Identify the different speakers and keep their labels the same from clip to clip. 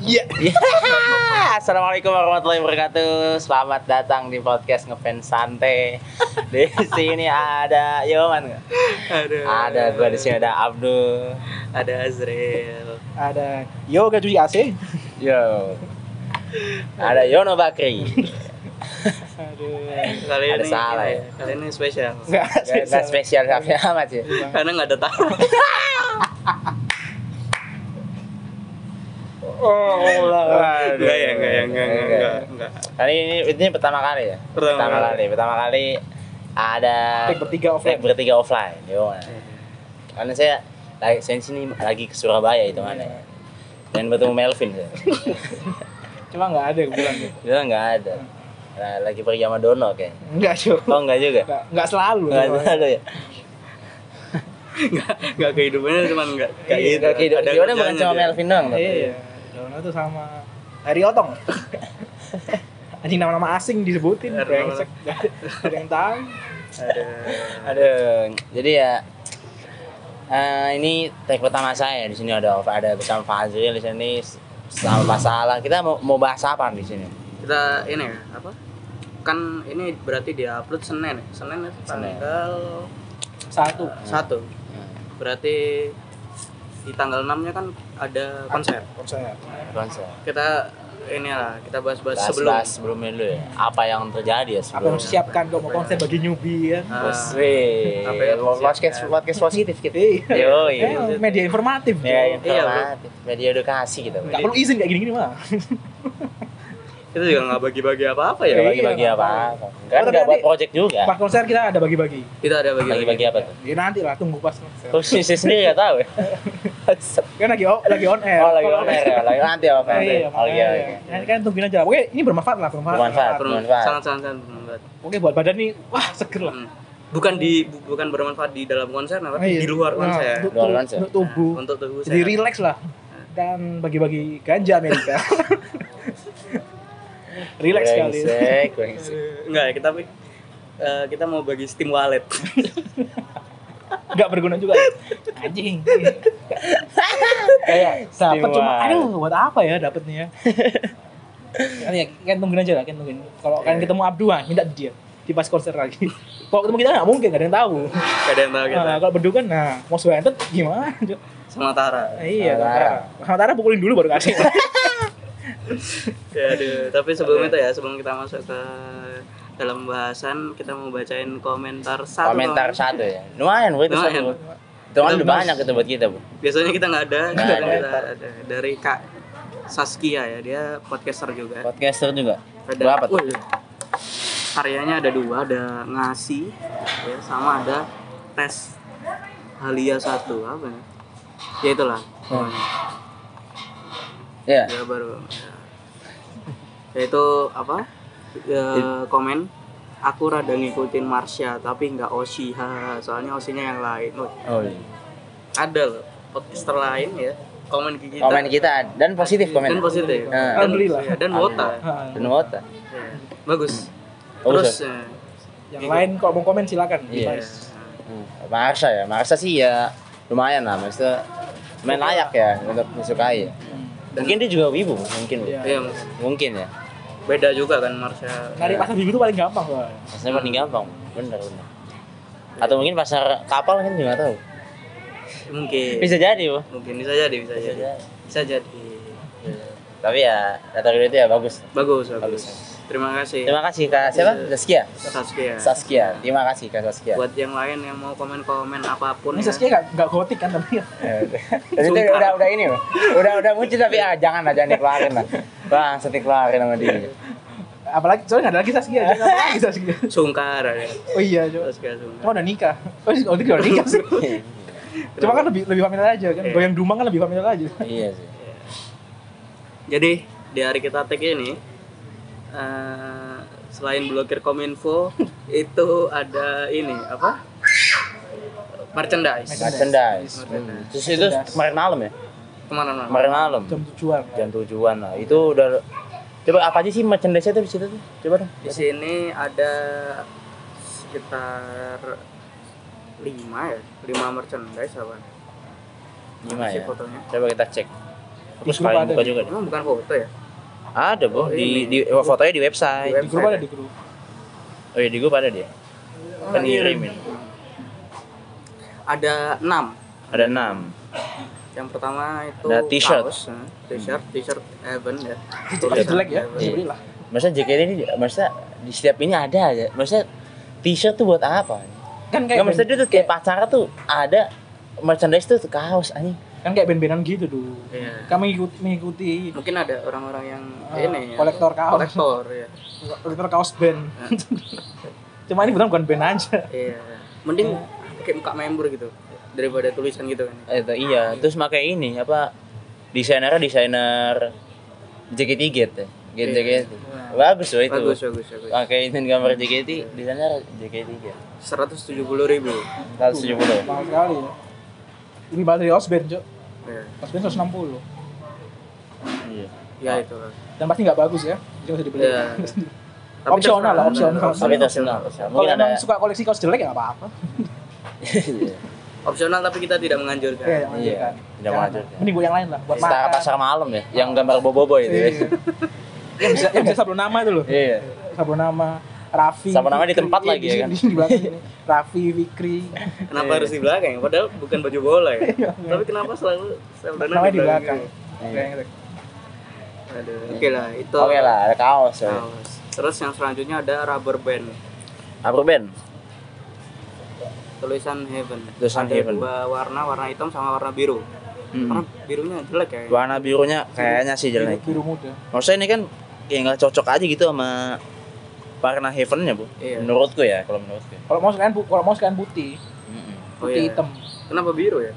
Speaker 1: Iya. Assalamualaikum warahmatullahi wabarakatuh. Selamat datang di podcast ngefans santai. Di sini ada Yoman nggak?
Speaker 2: Aduh.
Speaker 1: Ada gua di sini ada Abdul.
Speaker 2: Ada Azril.
Speaker 3: ada yoga cuci AC
Speaker 1: Yo. Ada Yono Bakri.
Speaker 3: aduh
Speaker 2: Kali
Speaker 1: Ada
Speaker 2: ini
Speaker 1: salah ya?
Speaker 2: Kali ini spesial.
Speaker 3: nggak
Speaker 1: Gak, gak spesial tapi amat sih.
Speaker 2: Karena nggak ada tamu.
Speaker 3: oh Allah
Speaker 1: Aduh.
Speaker 2: Enggak ya, enggak ya, enggak, enggak, enggak, enggak.
Speaker 1: Kali ini ini pertama kali ya.
Speaker 2: Pertama kali.
Speaker 1: kali. Pertama kali ada
Speaker 3: Take bertiga offline.
Speaker 1: Take bertiga offline. Yo. Karena saya lagi saya di sini lagi ke Surabaya itu mana.
Speaker 3: Iya.
Speaker 1: Dan bertemu Melvin ya. saya.
Speaker 3: cuma nggak ada gitu. kebetulan
Speaker 1: Dia Ya, nggak ada. Nah, lagi pergi sama Dono kayaknya.
Speaker 3: nggak cuy
Speaker 1: Oh nggak juga?
Speaker 3: nggak nggak selalu
Speaker 1: Nggak ada ya?
Speaker 2: Enggak, enggak kehidupannya cuman enggak kayak
Speaker 1: Iya,
Speaker 2: gitu.
Speaker 1: nggak hidup.
Speaker 2: Ada
Speaker 1: Dia udah bukan
Speaker 2: kerjaannya
Speaker 1: cuma
Speaker 2: dia.
Speaker 1: Melvin doang. tapi.
Speaker 3: iya Dono tuh sama Eri Otong anjing nama-nama asing disebutin
Speaker 2: Eri
Speaker 3: brengsek
Speaker 2: Otong.
Speaker 3: nggak ada nggak ada yang tahu
Speaker 2: Ada.
Speaker 1: Aduh, jadi ya eh, ini tag pertama saya di sini ada ada bersama Fazril di sini sama masalah. Kita mau, mau bahas apa di sini?
Speaker 2: Kita ini ya, apa? Kan ini berarti dia upload Senin. ya? Senin itu
Speaker 1: Senin.
Speaker 2: tanggal
Speaker 3: satu
Speaker 2: satu. Berarti di tanggal 6-nya kan ada konser.
Speaker 3: konser
Speaker 1: Konser.
Speaker 2: Kita ini lah, kita bahas-bahas
Speaker 1: Bahas,
Speaker 2: sebelum.
Speaker 1: bahas sebelumnya dulu ya. Apa yang terjadi ya
Speaker 3: apa yang
Speaker 1: sebelumnya?
Speaker 3: harus siapkan kalau mau konser bagi newbie kan
Speaker 2: Ah,
Speaker 1: Wih,
Speaker 2: Apa yang harus
Speaker 1: podcast
Speaker 2: disiapkan?
Speaker 1: podcast positif kita.
Speaker 3: Iya.
Speaker 1: Yo,
Speaker 3: Eh, media informatif
Speaker 1: Ya,
Speaker 3: dong.
Speaker 2: Iya, Bro.
Speaker 1: informatif. Media edukasi kita.
Speaker 3: nggak perlu izin kayak gini-gini mah
Speaker 2: Kita juga nggak bagi-bagi apa-apa ya.
Speaker 1: Ya,
Speaker 3: Iya,
Speaker 1: bagi-bagi
Speaker 3: nggak
Speaker 1: apa? Kan
Speaker 3: Oh,
Speaker 1: nggak buat
Speaker 3: nanti-
Speaker 1: project juga.
Speaker 3: pas konser kita ada bagi-bagi
Speaker 2: Kita ada
Speaker 1: Bagi-bagi
Speaker 2: bagi-bagi.
Speaker 1: apa tuh?
Speaker 3: ya nanti lah tunggu pas konser
Speaker 1: Terus sisi sendiri nggak tahu ya?
Speaker 3: kan lagi on, lagi on air
Speaker 1: Oh, lagi
Speaker 3: Kalau-
Speaker 1: on air ya? Lagi nanti apa? Nanti.
Speaker 3: Iya,
Speaker 1: Oh, iya,
Speaker 3: makanya.
Speaker 1: iya.
Speaker 3: Kan- Kan tungguin aja. Oke, ini bermanfaat lah, bermanfaat.
Speaker 1: Bermanfaat. Bermanfaat.
Speaker 2: Sangat-sangat bermanfaat.
Speaker 3: Oke, buat badan nih, wah seger lah.
Speaker 2: Hmm. Bukan di bu- bukan bermanfaat di dalam konser, nah, tapi di
Speaker 3: Iya.
Speaker 2: luar
Speaker 3: Nah,
Speaker 2: konser.
Speaker 3: Untuk,
Speaker 1: Luar
Speaker 3: untuk-
Speaker 1: konser.
Speaker 3: untuk tubuh.
Speaker 2: Nah, untuk tubuh
Speaker 3: Jadi
Speaker 2: sehat.
Speaker 3: relax lah. Dan bagi-bagi ganja Amerika. relax kali.
Speaker 1: Brengsek, brengsek.
Speaker 2: Enggak ya, kita eh, kita mau bagi Steam Wallet.
Speaker 3: Enggak berguna juga. ya. Anjing.
Speaker 1: Kayak
Speaker 3: Dapat cuma
Speaker 1: Steam
Speaker 3: aduh, buat apa ya dapatnya? kan ya, kan tungguin aja lah, kan tungguin. Kalau kan ketemu Abdul, ah, minta dia di pas konser lagi. Kalau ketemu kita nggak mungkin, nggak ada yang tahu.
Speaker 2: Gak ada yang tahu
Speaker 1: Gitu.
Speaker 2: kita.
Speaker 3: Nah, kalau berdua kan, nah, mau sebentar gimana? Jo?
Speaker 2: Sama Tara.
Speaker 3: Iya,
Speaker 1: Sama Tara.
Speaker 3: Tara. Sama Tara pukulin dulu baru kasih.
Speaker 2: Ya, aduh. Tapi sebelum itu ya, sebelum kita masuk ke dalam bahasan, kita mau bacain komentar satu.
Speaker 1: komentar
Speaker 2: doang.
Speaker 1: satu ya lumayan bu itu
Speaker 2: Lumayan.
Speaker 1: satu itu kan udah
Speaker 2: Bagus.
Speaker 1: banyak itu buat kita bu
Speaker 2: Biasanya kita nggak ada,
Speaker 1: Nggak
Speaker 2: sekarang
Speaker 1: ada.
Speaker 2: kita ada. Dari Kak Saskia ya, dia podcaster juga.
Speaker 1: podcaster juga
Speaker 2: ada
Speaker 1: berapa tuh
Speaker 2: Wih. karyanya ada dua ada ngasih ya sama ada tes halia satu apa ya ya itulah
Speaker 1: Oh.
Speaker 2: pokoknya.
Speaker 1: ya
Speaker 2: ya baru ya. yaitu apa Ya, komen aku rada ngikutin Marsha tapi nggak Oshi haha. soalnya Oshinya yang lain Wih,
Speaker 1: oh, iya.
Speaker 2: ada loh podcaster lain ya komen ke kita
Speaker 1: komen kita dan positif komen
Speaker 2: dan
Speaker 1: Nah.
Speaker 2: positif dan,
Speaker 3: Alhamdulillah.
Speaker 2: ya, dan wota
Speaker 3: Ah,
Speaker 1: dan wota
Speaker 2: Ya, bagus
Speaker 1: Bagus,
Speaker 2: terus ya.
Speaker 3: yang lain kalau mau komen silakan.
Speaker 1: Iya.
Speaker 3: Device.
Speaker 1: hmm. Marsha ya Marsha sih ya lumayan lah maksudnya main layak ya untuk disukai ya.
Speaker 3: Hmm.
Speaker 1: mungkin dia juga wibu mungkin Bu.
Speaker 3: Iya.
Speaker 2: Iya,
Speaker 1: mungkin ya
Speaker 2: beda juga kan Marsha.
Speaker 3: Nyari pasar minggu itu paling gampang lah.
Speaker 1: maksudnya paling
Speaker 2: Hmm.
Speaker 1: gampang bener bener atau mungkin pasar kapal kan juga nggak tahu
Speaker 2: Mungkin.
Speaker 1: bisa jadi bu
Speaker 2: Mungkin bisa jadi, Iya. bisa,
Speaker 1: Bisa
Speaker 2: jadi.
Speaker 1: jadi.
Speaker 2: Bisa jadi.
Speaker 1: Iya. tapi ya data itu ya bagus
Speaker 2: Bagus,
Speaker 1: Bagus.
Speaker 2: bagus. Terima kasih.
Speaker 1: terima kasih kak siapa
Speaker 2: Iya.
Speaker 1: Zaskia
Speaker 2: Saskia.
Speaker 1: Saskia, terima kasih Kak Saskia.
Speaker 2: Buat yang lain yang mau komen-komen apapun
Speaker 1: Iya.
Speaker 3: Ini
Speaker 2: ya.
Speaker 3: Saskia nggak nggak gotik kan tapi
Speaker 1: Jadi itu udah udah ini, Bang. udah udah muncul tapi ah jangan lah jangan dikeluarin lah. Bang, saya dikeluarin sama
Speaker 2: Iya.
Speaker 1: dia.
Speaker 3: apalagi soalnya nggak ada lagi Saskia. Jadi apa lagi Saskia?
Speaker 2: Sungkar ya.
Speaker 3: Oh iya, coba.
Speaker 2: Saskia Sungkar.
Speaker 3: Cuma udah nikah. Oh, ini- oh itu udah nikah sih. Cuma kan lebih lebih familiar aja kan.
Speaker 2: Iya.
Speaker 3: Goyang Dumang kan lebih familiar aja.
Speaker 1: iya sih.
Speaker 2: Jadi, di hari kita tag ini eh, selain blokir kominfo itu ada ini apa? merchandise.
Speaker 1: Merchandise. Hmm. Terus itu kemarin malam ya?
Speaker 2: Kemana-mana.
Speaker 1: Kemarin malam.
Speaker 3: Jam tujuan.
Speaker 1: Jam tujuan lah. Itu udah Coba apa aja sih merchandise-nya tuh di situ tuh? Coba dong.
Speaker 2: Di sini ada sekitar lima ya, lima merchandise apa?
Speaker 1: Gimana
Speaker 2: Sih
Speaker 1: ya?
Speaker 2: fotonya.
Speaker 1: Coba kita cek. Aku
Speaker 3: Di grup
Speaker 1: sekalian
Speaker 3: ada.
Speaker 1: buka juga deh.
Speaker 2: Emang bukan foto ya?
Speaker 1: Ada, Bu. Di, di fotonya di website.
Speaker 2: Di
Speaker 3: di grup
Speaker 2: website
Speaker 3: ada
Speaker 2: ya?
Speaker 3: di grup
Speaker 1: Oh iya, di grup ada dia.
Speaker 3: Oh,
Speaker 1: Kan
Speaker 3: iya.
Speaker 1: ngirimin.
Speaker 2: Ada 6.
Speaker 1: Ada enam.
Speaker 2: Yang pertama itu
Speaker 1: Ada t-shirt. Hmm.
Speaker 2: kaos, eh, T-shirt, t-shirt Evan ya.
Speaker 3: itu jelek ya
Speaker 2: Evan.
Speaker 1: Iya.
Speaker 3: belilah
Speaker 1: Maksudnya JKT ini, maksudnya di setiap ini ada aja. Maksudnya t-shirt tuh buat apa?
Speaker 3: kan
Speaker 1: Nggak,
Speaker 3: kayak
Speaker 1: maksudnya dia tuh kayak pacara tuh ada merchandise tuh kaos anjing.
Speaker 3: kan kayak band-bandan gitu dulu
Speaker 2: Iya.
Speaker 3: kami mengikuti, mengikuti
Speaker 2: Mungkin ada orang-orang yang
Speaker 3: Eh,
Speaker 2: ini ya.
Speaker 3: kolektor kaos.
Speaker 2: Kolektor ya.
Speaker 3: kolektor kaos band cuma ini bukan bukan band aja
Speaker 2: Iya. Mending
Speaker 3: Iya.
Speaker 2: pakai muka member gitu daripada tulisan gitu kan.
Speaker 1: Eh, Itu iya, terus pakai ini apa desainernya desainer JKT Gate ya. Gate JKT. Bagus loh itu.
Speaker 2: Bagus, bagus, bagus.
Speaker 1: Pakai ini gambar JKT, desainer JKT Gate.
Speaker 2: 170 ribu.
Speaker 1: 170.
Speaker 3: mahal sekali ya lebih mahal dari Osben cok
Speaker 2: Ya,
Speaker 3: Osben 160
Speaker 1: Iya.
Speaker 2: ya itu. lah.
Speaker 3: dan pasti nggak bagus ya jadi nggak usah dibeli
Speaker 2: Iya. Tapi
Speaker 3: opsional lah opsional
Speaker 1: Tapi tersenal.
Speaker 3: kalau
Speaker 1: Mungkin
Speaker 3: emang
Speaker 1: ada
Speaker 3: suka koleksi kaos jelek ya nggak apa-apa
Speaker 2: Opsional tapi kita tidak menganjurkan.
Speaker 3: Iya, jangan
Speaker 1: Iya,
Speaker 3: lanjutkan.
Speaker 1: tidak
Speaker 3: Jangan.
Speaker 1: lanjut, ya.
Speaker 3: Mending buat yang lain lah, buat
Speaker 1: Setara
Speaker 3: makan.
Speaker 1: pasar malam ya, yang gambar bobo-bobo itu ya.
Speaker 3: Iya. yang bisa yang bisa sablon nama itu loh.
Speaker 1: Iya.
Speaker 3: Sablon nama Raffi.
Speaker 1: Sablon nama di
Speaker 3: Fikri.
Speaker 1: tempat
Speaker 3: Iya,
Speaker 1: lagi
Speaker 3: di
Speaker 1: ya
Speaker 3: sini, di belakang ini. Raffi, Fikri. Iya,
Speaker 2: Kenapa harus di belakang? ya? Padahal bukan baju bola ya. Tapi kenapa selalu seldonan
Speaker 3: Namanya Iya, di belakang. Iya.
Speaker 1: Iya.
Speaker 3: Kayak gitu.
Speaker 2: Aduh. Oke lah, itu.
Speaker 1: Oke lah, ada kaos. ya.
Speaker 2: Kaos. Terus yang selanjutnya ada rubber band
Speaker 1: Apa Ben?
Speaker 2: tulisan Heaven.
Speaker 1: Tulisan
Speaker 2: ada
Speaker 1: Heaven.
Speaker 2: dua warna, warna hitam sama warna biru.
Speaker 3: Hmm.
Speaker 2: Warna birunya jelek ya.
Speaker 1: Warna birunya kayaknya sih
Speaker 3: Biru,
Speaker 1: jelek.
Speaker 3: biru muda.
Speaker 1: Maksudnya ini kan kayak nggak cocok aja gitu sama warna heavennya bu.
Speaker 2: Iya.
Speaker 1: Menurutku ya, kalau menurutku.
Speaker 3: Kalau mau sekalian bu- kalau mau sekalian putih,
Speaker 1: Mm-mm.
Speaker 2: Oh,
Speaker 3: putih
Speaker 2: iya.
Speaker 3: hitam.
Speaker 2: Kenapa biru ya?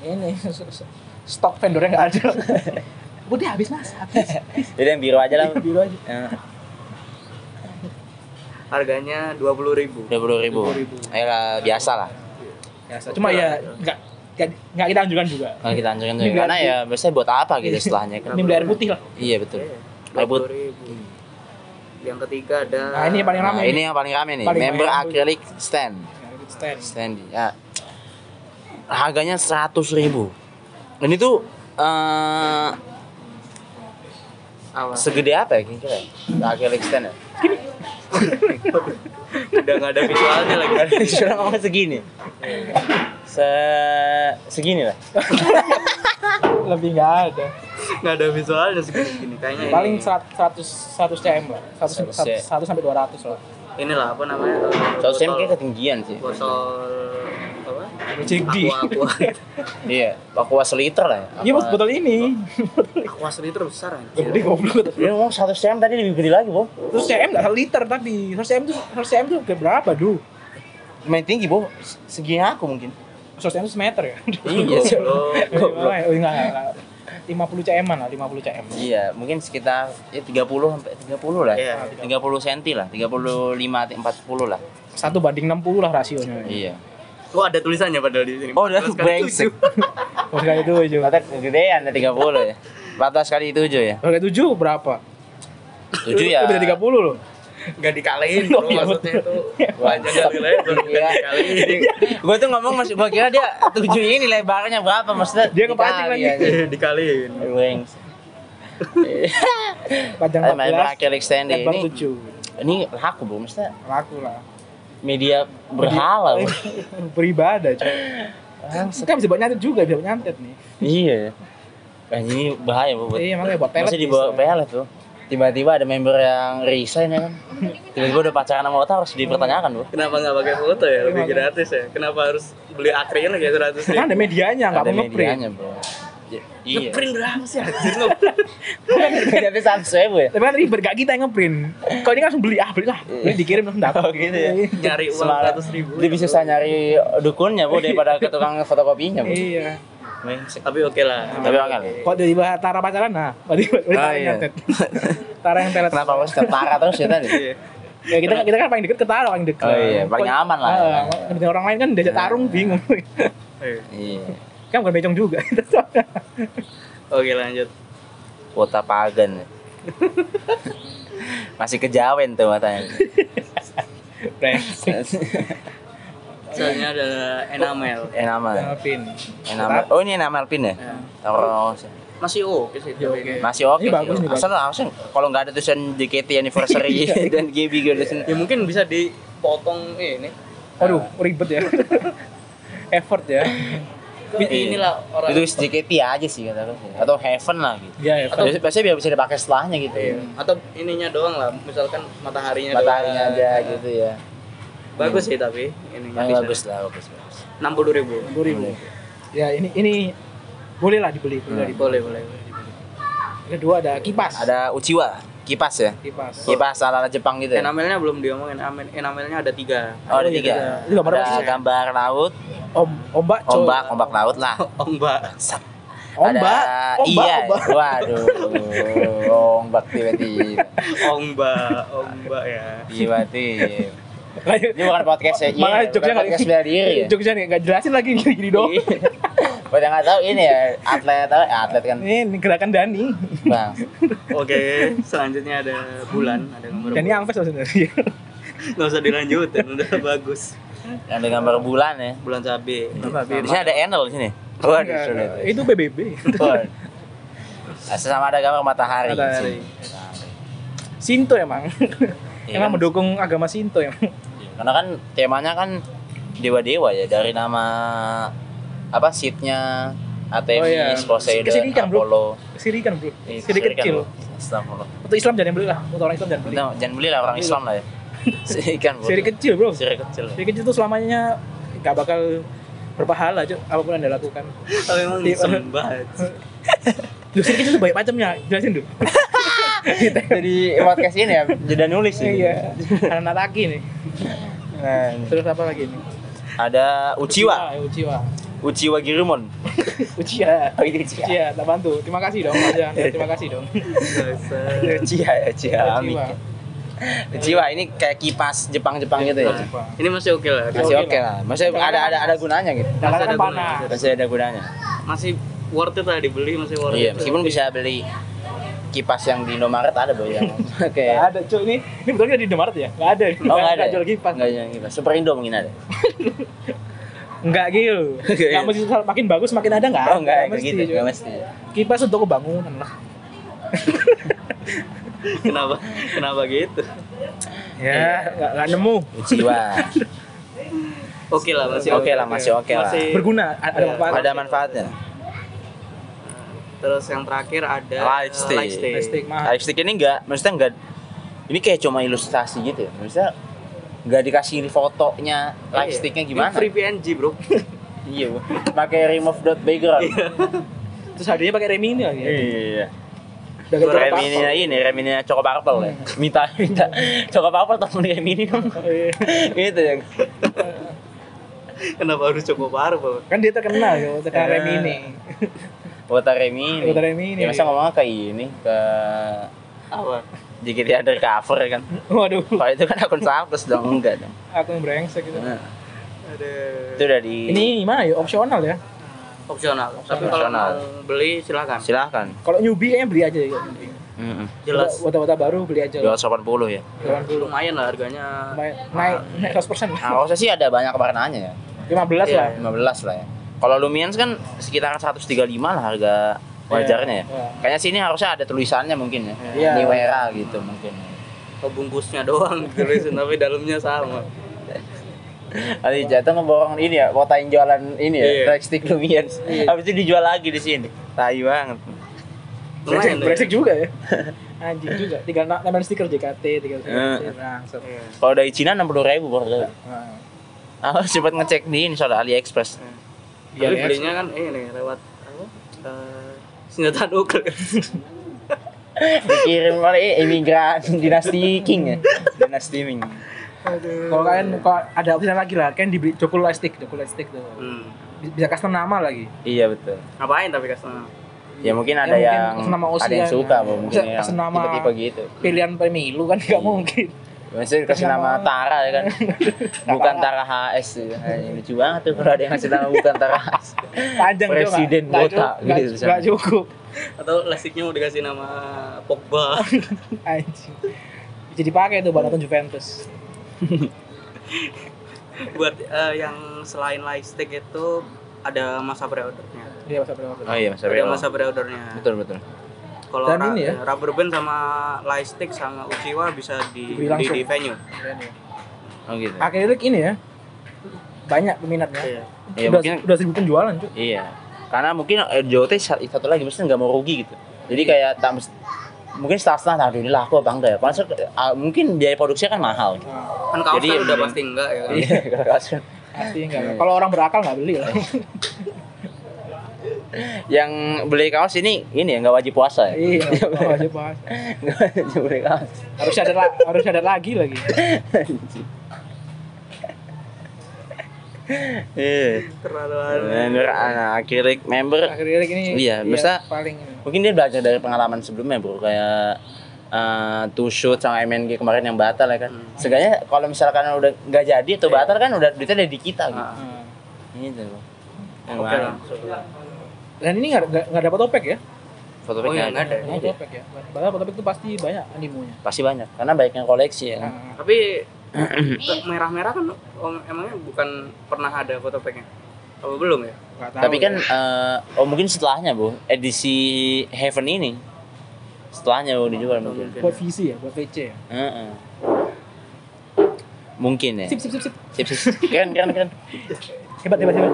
Speaker 3: Ini stok vendornya nggak ada. Putih habis mas, habis.
Speaker 1: Jadi yang biru aja lah. Ya.
Speaker 3: biru aja.
Speaker 2: Harganya
Speaker 3: Iya.
Speaker 2: 20.000.
Speaker 1: Dua puluh ribu.
Speaker 3: 20.000.
Speaker 1: Ya biasa lah.
Speaker 3: Biasa. Cuma ya nggak nggak nggak kita anjurkan juga.
Speaker 1: Kalau kita anjurin
Speaker 3: Ini
Speaker 1: tuh, karena
Speaker 3: berarti-
Speaker 1: ya biasanya buat apa gitu setelahnya kan?
Speaker 3: Ini beli air putih lah.
Speaker 1: Iya betul. Ayo, Bud.
Speaker 2: 20.000. Yang ketiga ada
Speaker 3: Nah ini yang paling
Speaker 1: Nah,
Speaker 3: ramai.
Speaker 1: ini yang paling rame nih,
Speaker 3: Paling
Speaker 1: member
Speaker 3: rame.
Speaker 1: acrylic stand. Standy. Ya. Harganya 100.000 ribu. Ini tuh eh
Speaker 2: awas.
Speaker 1: segede apa ya kira-kira? Acrylic stand ya?
Speaker 2: Udah nggak ada visualnya lagi.
Speaker 1: Sudah ngomong segini. Se segini lah.
Speaker 3: Lebih nggak ada.
Speaker 2: Nggak ada visualnya segini gini. Kayaknya
Speaker 1: Iya.
Speaker 2: ini-
Speaker 3: Paling 100 100 100 cm lah. 100
Speaker 1: 100
Speaker 3: 100 sampai 200 lah.
Speaker 2: inilah apa namanya? eh,
Speaker 1: Soalnya saya
Speaker 2: botol-
Speaker 1: kayak ketinggian sih.
Speaker 2: botol apa?
Speaker 3: JD.
Speaker 2: Aqua aqua.
Speaker 1: Iya, aku seliter lah ya. Apa-
Speaker 3: Iya
Speaker 1: Oh.
Speaker 3: bos botol ini.
Speaker 2: aqua seliter besar anjir.
Speaker 3: Gede goblok.
Speaker 1: Dia ngomong 100 cm tadi lebih gede lagi, Bo.
Speaker 3: Terus cm nggak satu liter tadi. Terus cm tuh terus cm tuh kayak berapa duh?
Speaker 1: Main tinggi, Bo. Se- Segini aku mungkin.
Speaker 3: Terus cm tuh semeter ya.
Speaker 2: Oh.
Speaker 1: Iya, sih.
Speaker 2: Goblok.
Speaker 3: Goblok. Oh enggak enggak. 50 cm lah, 50 cm.
Speaker 1: Iya, mungkin sekitar ya 30 sampai 30 lah. 30
Speaker 2: Iya.
Speaker 1: cm lah, 35 sampai 40 lah.
Speaker 3: Satu banding 60 lah rasionya.
Speaker 1: Iya.
Speaker 2: Oh ada tulisannya padahal di sini.
Speaker 1: Oh, udah
Speaker 2: Terus kan
Speaker 1: brengsek.
Speaker 2: tujuh.
Speaker 3: Terus kayak Oh, itu itu.
Speaker 1: Kata kegedean ya 30 ya. 14 kali 7 ya.
Speaker 3: Terus kayak 7 Oh, berapa?
Speaker 1: 7 ya.
Speaker 3: Lebih dari 30 loh.
Speaker 2: Nggak dikalahin bro,
Speaker 3: Oh, iya,
Speaker 2: maksudnya itu.
Speaker 1: Wajah
Speaker 2: Panjang dari lebar bukan dikalahin.
Speaker 1: Gue Iya. tuh ngomong maksud gue kira dia 7 ini lebarnya berapa maksudnya?
Speaker 3: Dia kepancing
Speaker 1: dikali
Speaker 3: lagi.
Speaker 1: aja.
Speaker 2: Eh, Dikalihin.
Speaker 1: Brengsek.
Speaker 3: Panjang
Speaker 1: Ada main
Speaker 3: 14.
Speaker 1: acrylic stand
Speaker 3: Lebar
Speaker 1: ini.
Speaker 3: 7.
Speaker 1: Ini laku, Bu. Maksudnya
Speaker 3: Laku lah.
Speaker 1: media
Speaker 3: Iya.
Speaker 1: berhala, Bu.
Speaker 3: Beribadah, coy. Kan bisa buat nyantet juga, bisa buat nyantet nih.
Speaker 1: Iya. Kan ini bahaya bu. buat-
Speaker 3: Iya, makanya buat pelet
Speaker 1: Masih dibawa
Speaker 3: bisa.
Speaker 1: pelet tuh. Tiba-tiba ada member yang resign ya kan. Tiba-tiba udah pacaran sama otak harus dipertanyakan bu.
Speaker 2: Kenapa nggak pakai foto ya? Lebih gratis ya. Kenapa harus beli akrilin lagi seratus ribu?
Speaker 3: Kan ada medianya, nggak
Speaker 1: Ada
Speaker 3: mau ngeprint.
Speaker 1: medianya bro. Iya. Iya.
Speaker 2: Print berapa sih? anjir?
Speaker 1: Nggak bisa samsu ya bu ya.
Speaker 3: Tapi kan ribet, gak kita yang ngeprint. Kalau ini kan langsung beli, ah beli lah. Beli dikirim langsung dapat.
Speaker 1: Oh, gitu ya?
Speaker 3: Iya.
Speaker 2: Nyari uang
Speaker 1: Semalam.
Speaker 2: seratus ribu.
Speaker 1: Dia bisa susah nyari dukunnya bu daripada ke tukang fotokopinya bu.
Speaker 3: Iya.
Speaker 1: Mengsek.
Speaker 2: Tapi oke lah.
Speaker 1: Tapi oke lah.
Speaker 3: Kok tiba-tiba Tara pacaran, nah. Tiba-tiba
Speaker 1: Oh,
Speaker 3: Tara
Speaker 1: iya.
Speaker 3: yang nyantet. Tara yang pelet.
Speaker 1: Kenapa harus ketara terus ya tadi?
Speaker 2: Iya.
Speaker 3: Ya kita, kita kan paling deket ke Tara, paling deket.
Speaker 1: Oh, iya. Paling aman lah. Nah.
Speaker 3: Ah, Dengan orang lain kan diajak tarung, bingung.
Speaker 2: Eh,
Speaker 1: Iya.
Speaker 3: kan bukan becong juga.
Speaker 2: Oke lanjut.
Speaker 1: Kota Pagan. Masih kejawen tuh matanya.
Speaker 3: Brengsek.
Speaker 2: Soalnya ada enamel.
Speaker 1: enamel
Speaker 3: Alvin.
Speaker 1: enamel oh ini enamel pin ya
Speaker 2: Ya.
Speaker 1: terus
Speaker 2: Masih oke sih.
Speaker 3: Ya, oke.
Speaker 1: masih oke sih.
Speaker 3: Iya. Ini bagus nih, Iya, bagus.
Speaker 1: asal langsung kalau nggak ada tulisan JKT anniversary dan GB gitu
Speaker 3: Iya,
Speaker 2: Ya mungkin bisa dipotong ini.
Speaker 3: Aduh, ribet ya. Effort ya.
Speaker 1: Iya.
Speaker 2: Inilah orang.
Speaker 1: itu JKT aja sih kata aku sih. atau heaven lah gitu
Speaker 3: Iya, effort.
Speaker 1: Biasanya biasanya biar bisa dipakai setelahnya gitu
Speaker 3: Iya.
Speaker 1: ya
Speaker 2: Atau ininya doang lah, misalkan mataharinya
Speaker 1: mataharinya
Speaker 2: doang. Nah,
Speaker 1: aja gitu ya
Speaker 2: Bagus sih tapi
Speaker 3: Iya.
Speaker 2: ininya
Speaker 1: yang
Speaker 2: bisa.
Speaker 1: bagus lah bagus bagus
Speaker 2: 60 ribu.
Speaker 3: 10 ribu. Ya, ini ini boleh lah dibeli. Boleh lah dibeli.
Speaker 2: Boleh, boleh.
Speaker 3: Kedua ada kipas.
Speaker 1: Hmm. ada uchiwa kipas ya
Speaker 3: kipas.
Speaker 1: kipas ala ala Jepang gitu ya
Speaker 2: Enamelnya Eh, belum diomongin, enamel- enamelnya ada tiga.
Speaker 1: oh ada
Speaker 3: Oh, iya,
Speaker 1: tiga
Speaker 3: iya. Itu gambar apa
Speaker 1: ada
Speaker 3: sih?
Speaker 1: gambar laut
Speaker 3: Om, ombak, coy.
Speaker 1: ombak ombak laut lah
Speaker 2: Ombak.
Speaker 3: Ombak.
Speaker 1: ada
Speaker 3: Ombak,
Speaker 1: iya
Speaker 3: ombak.
Speaker 1: waduh ombak tiba-tiba
Speaker 2: Ombak, ombak ya.
Speaker 1: tiba-tiba
Speaker 3: Lanjut.
Speaker 1: Iya, ini bukan podcast ya
Speaker 3: Makanya jokesnya nggak-
Speaker 1: podcast bela diri ya Iya.
Speaker 3: Jokesnya nih, nggak jelasin lagi gini-gini doang.
Speaker 1: buat yang nggak tahu ini ya atlet apa ya, atlet kan
Speaker 3: Ini ini gerakan Dani.
Speaker 1: bang
Speaker 2: Oke, selanjutnya ada bulan, ada nomor
Speaker 3: Dani
Speaker 2: bulan.
Speaker 3: Angpes sebenarnya.
Speaker 2: Nggak usah dilanjutin, udah bagus.
Speaker 1: yang ada gambar bulan ya
Speaker 2: Bulan cabe.
Speaker 1: di sini ada enel di sini waduh sulit
Speaker 3: Itu PBB.
Speaker 1: Waduh. Asal sama ada gambar matahari. di
Speaker 3: Matahari.
Speaker 1: sini.
Speaker 3: Sinto emang.
Speaker 1: Iya
Speaker 3: emang
Speaker 1: kan?
Speaker 3: mendukung agama Sinto emang.
Speaker 1: Karena kan temanya kan dewa-dewa ya dari nama apa seatnya
Speaker 3: Oh, iya.
Speaker 1: Artemis, Poseidon,
Speaker 3: Kesirikan, bro.
Speaker 1: Apollo.
Speaker 3: Sirikan bro.
Speaker 1: Iya,
Speaker 3: Siri
Speaker 1: kesirikan,
Speaker 3: kecil.
Speaker 1: bro. Astagfirullah.
Speaker 3: Untuk Islam jangan beli lah. Untuk orang Islam jangan beli.
Speaker 1: Kita jangan beli lah orang Islam lah ya. Sirikan, bro.
Speaker 3: Siri kecil bro.
Speaker 1: Siri kecil.
Speaker 3: Siri kecil tuh selamanya nggak bakal berpahala aja apapun yang anda lakukan.
Speaker 2: Tapi emang disembah.
Speaker 3: Loh, Siri kecil tuh banyak macamnya. Jelasin dulu.
Speaker 1: Jadi podcast ini ya jeda nulis ini.
Speaker 3: Iya. Anak Nataki nih.
Speaker 1: Nah, ini.
Speaker 3: Terus apa lagi nih?
Speaker 1: ada Uchiwa,
Speaker 3: Uchiwa. ya, Uchiwa.
Speaker 1: Uchiwa Girumon.
Speaker 3: Uchiha.
Speaker 1: Oh, ini Uchiha.
Speaker 3: Iya, tak bantu. Terima kasih dong, Mas Jan. Terima kasih dong.
Speaker 1: Uchiha, ya, Uchiha. Ami.
Speaker 3: Uchiwa.
Speaker 1: Uchiwa ini kayak kipas Jepang-Jepang gitu ya.
Speaker 3: Uchiwa.
Speaker 2: Ini masih oke lah.
Speaker 1: Masih oke
Speaker 3: Oke
Speaker 1: lah. Masih ada ada ada gunanya gitu.
Speaker 3: Dan
Speaker 2: Masih
Speaker 3: kan
Speaker 2: ada guna,
Speaker 3: panas.
Speaker 1: Masih ada gunanya.
Speaker 2: Masih worth it lah dibeli, masih worth
Speaker 1: Iya,
Speaker 2: it.
Speaker 1: meskipun bisa beli kipas yang di Indomaret ada boy yang
Speaker 3: Gak
Speaker 1: kayak
Speaker 3: ada cuy ini ini betul nggak di Indomaret ya? Gak ada.
Speaker 1: Oh nggak ada.
Speaker 3: jual kipas.
Speaker 1: Nggak ya. jual kipas. Super Indo mungkin ada.
Speaker 3: Enggak gitu.
Speaker 1: Nggak
Speaker 3: Gak
Speaker 1: gitu.
Speaker 3: mesti sal- makin bagus makin ada nggak?
Speaker 1: Oh nggak, nggak
Speaker 3: mesti,
Speaker 1: gitu,
Speaker 3: cuy.
Speaker 1: nggak mesti.
Speaker 3: Kipas untuk kebangunan lah.
Speaker 2: kenapa kenapa gitu
Speaker 3: Ya, nggak nggak nemu.
Speaker 1: Uchiwa.
Speaker 2: oke lah masih
Speaker 1: Oke lah, masih oke lah.
Speaker 2: Masih-
Speaker 3: Berguna, a- ada
Speaker 2: Iya.
Speaker 3: manfaat.
Speaker 1: Ada manfaatnya.
Speaker 2: terus yang terakhir ada
Speaker 1: Lightstick.
Speaker 2: lightstick.
Speaker 3: Lightstick. Mahal.
Speaker 1: Lipstick ini nggak, maksudnya nggak. Ini kayak cuma ilustrasi gitu ya. Maksudnya nggak dikasih fotonya,
Speaker 2: Iya.
Speaker 1: lipsticknya gimana?
Speaker 2: Ini free PNG bro
Speaker 1: Iya, Bu. pakai remove dot background.
Speaker 2: Iya.
Speaker 3: Terus hadiahnya pakai remi ini lagi.
Speaker 1: Iya.
Speaker 3: Udah gitu,
Speaker 1: Rem
Speaker 3: apa?
Speaker 1: ini ini rem ini Choco Purple
Speaker 2: Iya.
Speaker 1: ya. Minta minta Choco Purple telepon rem ini dong.
Speaker 3: Iya.
Speaker 1: gitu ya.
Speaker 2: kenapa harus coba baru bro
Speaker 3: Kan dia terkenal ya, terkenal
Speaker 1: Eh.
Speaker 3: remi ini.
Speaker 1: Wota Remi ini.
Speaker 3: Wota Remi ini.
Speaker 1: Ya masa ngomongnya kayak ini ke
Speaker 2: apa
Speaker 1: JKT undercover kan.
Speaker 3: Waduh,
Speaker 1: Kalau itu kan akun samples dong enggak dong.
Speaker 3: aku yang brengsek gitu.
Speaker 1: Nah,
Speaker 2: ada
Speaker 1: itu udah di
Speaker 3: Ini gimana ya? Opsional ya.
Speaker 2: opsional tapi kalau
Speaker 1: Opsional.
Speaker 2: mau beli silakan
Speaker 1: silahkan.
Speaker 3: Kalau newbie kayaknya beli aja ya.
Speaker 1: Heeh.
Speaker 2: jelas
Speaker 3: Wata-wata baru beli aja. lah.
Speaker 1: 280 ya.
Speaker 3: Jangan dulu.
Speaker 2: lumayan lah harganya
Speaker 3: Lumayan, Naik naik 100%.
Speaker 1: Nah, kalau saya sih ada banyak warnanya ya.
Speaker 3: 15
Speaker 2: Iya.
Speaker 3: lah.
Speaker 1: 15 lah ya. Kalau Lumians kan sekitar 135 lah harga wajarnya ya.
Speaker 3: Iya.
Speaker 1: Kayaknya sini harusnya ada tulisannya mungkin ya.
Speaker 3: Iya.
Speaker 1: New Era gitu mungkin.
Speaker 2: Oh, bungkusnya doang tulisin tapi dalamnya sama
Speaker 1: Tadi jatuh ngeborong ini ya, kotain jualan ini ya,
Speaker 2: Iya.
Speaker 1: lightstick Lumians. Habis itu dijual lagi di sini. Tai banget.
Speaker 3: Brengsek,
Speaker 2: lumayan lah
Speaker 3: brengsek
Speaker 2: ya.
Speaker 3: juga ya. Anjing juga. Tinggal na- nambahin stiker JKT, tinggal stiker
Speaker 1: Eh.
Speaker 3: JKT, langsung.
Speaker 2: Iya.
Speaker 1: Kalau dari Cina 60 ribu per
Speaker 3: Nah,
Speaker 1: Aku sempat ngecek di ini soal AliExpress.
Speaker 3: Iya,
Speaker 2: tapi
Speaker 3: iya.
Speaker 2: belinya kan ini lewat apa Eh, senjata nuklir
Speaker 1: Dikirim oleh imigran dinasti King ya. Dinasti Ming.
Speaker 3: Kalau kalian kalau ada opsi lagi lah, kalian dibeli cokul elastik, cokul elastik tuh.
Speaker 2: hmm.
Speaker 3: Bi- Bisa custom nama lagi.
Speaker 1: Iya betul.
Speaker 2: ngapain tapi customer
Speaker 1: Ya mungkin ada
Speaker 3: mungkin
Speaker 1: yang
Speaker 3: senama
Speaker 1: ada
Speaker 3: Aussie
Speaker 1: yang
Speaker 3: kan.
Speaker 1: suka Bu. mungkin
Speaker 3: Bisa
Speaker 1: yang
Speaker 3: kasih nama-
Speaker 1: tipe-tipe gitu.
Speaker 3: Pilihan pemilu kan
Speaker 1: Iya.
Speaker 3: nggak mungkin.
Speaker 1: Maksudnya kasih nama Tara ya kan. Bukan Tara HS ya. Ay, lucu banget tuh kalau ada yang kasih nama bukan Tara HS.
Speaker 3: Panjang juga.
Speaker 1: Presiden
Speaker 3: Nggak
Speaker 1: botak
Speaker 3: cukup, nggak-
Speaker 1: gitu misalnya.
Speaker 3: nggak cukup.
Speaker 2: atau lastiknya mau dikasih nama Pogba
Speaker 3: Anjing. Bisa dipakai tuh buat nonton Juventus.
Speaker 2: buat eh, yang selain lightstick itu ada masa pre-ordernya
Speaker 3: Iya, masa berapa?
Speaker 1: Oh iya, Mas
Speaker 2: ada
Speaker 1: Abel.
Speaker 2: masa pre-ordernya
Speaker 1: Betul, betul.
Speaker 2: kalau
Speaker 3: Dan
Speaker 2: ra-
Speaker 3: ini ya.
Speaker 2: rubber band sama lightstick sama uchiwa bisa di
Speaker 3: Dibeli
Speaker 2: di,
Speaker 3: langsung.
Speaker 2: di venue
Speaker 3: Keren ya.
Speaker 1: Oh gitu.
Speaker 3: Akrilik ini ya banyak peminatnya.
Speaker 2: Iya.
Speaker 1: Iya,
Speaker 3: udah,
Speaker 1: mungkin-
Speaker 3: udah seribu penjualan cuy.
Speaker 1: Iya. Karena mungkin eh, JOT sa- satu lagi mesti nggak mau rugi gitu. Jadi kayak tak mes- mungkin setengah-setengah aduh ini laku apa enggak ya. Karena se- ah, mungkin biaya produksinya kan mahal. Gitu.
Speaker 2: kan kaos
Speaker 1: Jadi,
Speaker 2: kan udah
Speaker 1: mending-
Speaker 2: pasti enggak ya kan?
Speaker 1: Iya, kalau kasus.
Speaker 3: Pasti enggak. Kalau orang berakal nggak beli ya. lah.
Speaker 1: Yang beli kaos ini ini ya nggak wajib puasa ya.
Speaker 3: Iya. oh, aja, Pak.
Speaker 1: Nggak wajib beli kaos.
Speaker 3: Harus ada la- harus ada lagi lagi.
Speaker 1: Iya.
Speaker 2: terlalu
Speaker 1: Member anak akrilik member
Speaker 3: Akrilik ini
Speaker 1: Iya, masa-
Speaker 3: paling ini.
Speaker 1: mungkin dia belajar dari pengalaman sebelumnya bro kayak eh two shoot sama MNG kemarin yang batal ya kan.
Speaker 2: Hmm.
Speaker 1: Seenggaknya kalau misalkan udah nggak jadi atau batal kan udah duitnya ada di kita gitu.
Speaker 2: Iya. Ah,
Speaker 3: Nah.
Speaker 1: Gitu loh. Yang
Speaker 2: oke
Speaker 1: mana?
Speaker 2: lah
Speaker 3: Dan ini nggak nggak- nggak dapat topek ya?
Speaker 1: Foto
Speaker 2: Oh, iya,
Speaker 1: picknya
Speaker 2: nggak ada.
Speaker 3: Nggak dapat topek ya. Padahal topek itu pasti banyak animonya.
Speaker 1: Pasti banyak karena baiknya koleksi ya kan.
Speaker 3: Nah,
Speaker 2: tapi ke- merah-merah kan om- emangnya bukan pernah ada foto packnya apa belum ya
Speaker 3: nggak tahu
Speaker 1: Tapi kan
Speaker 3: ya.
Speaker 1: eh, oh mungkin setelahnya bu edisi Heaven ini setelahnya bu dijual mungkin.
Speaker 2: Mungkin.
Speaker 3: buat VC ya, buat VC ya.
Speaker 1: Heeh. Mungkin ya.
Speaker 3: Sip sip sip sip.
Speaker 1: Sip, sip, sip. Keren keren keren.
Speaker 3: Hebat hebat hebat.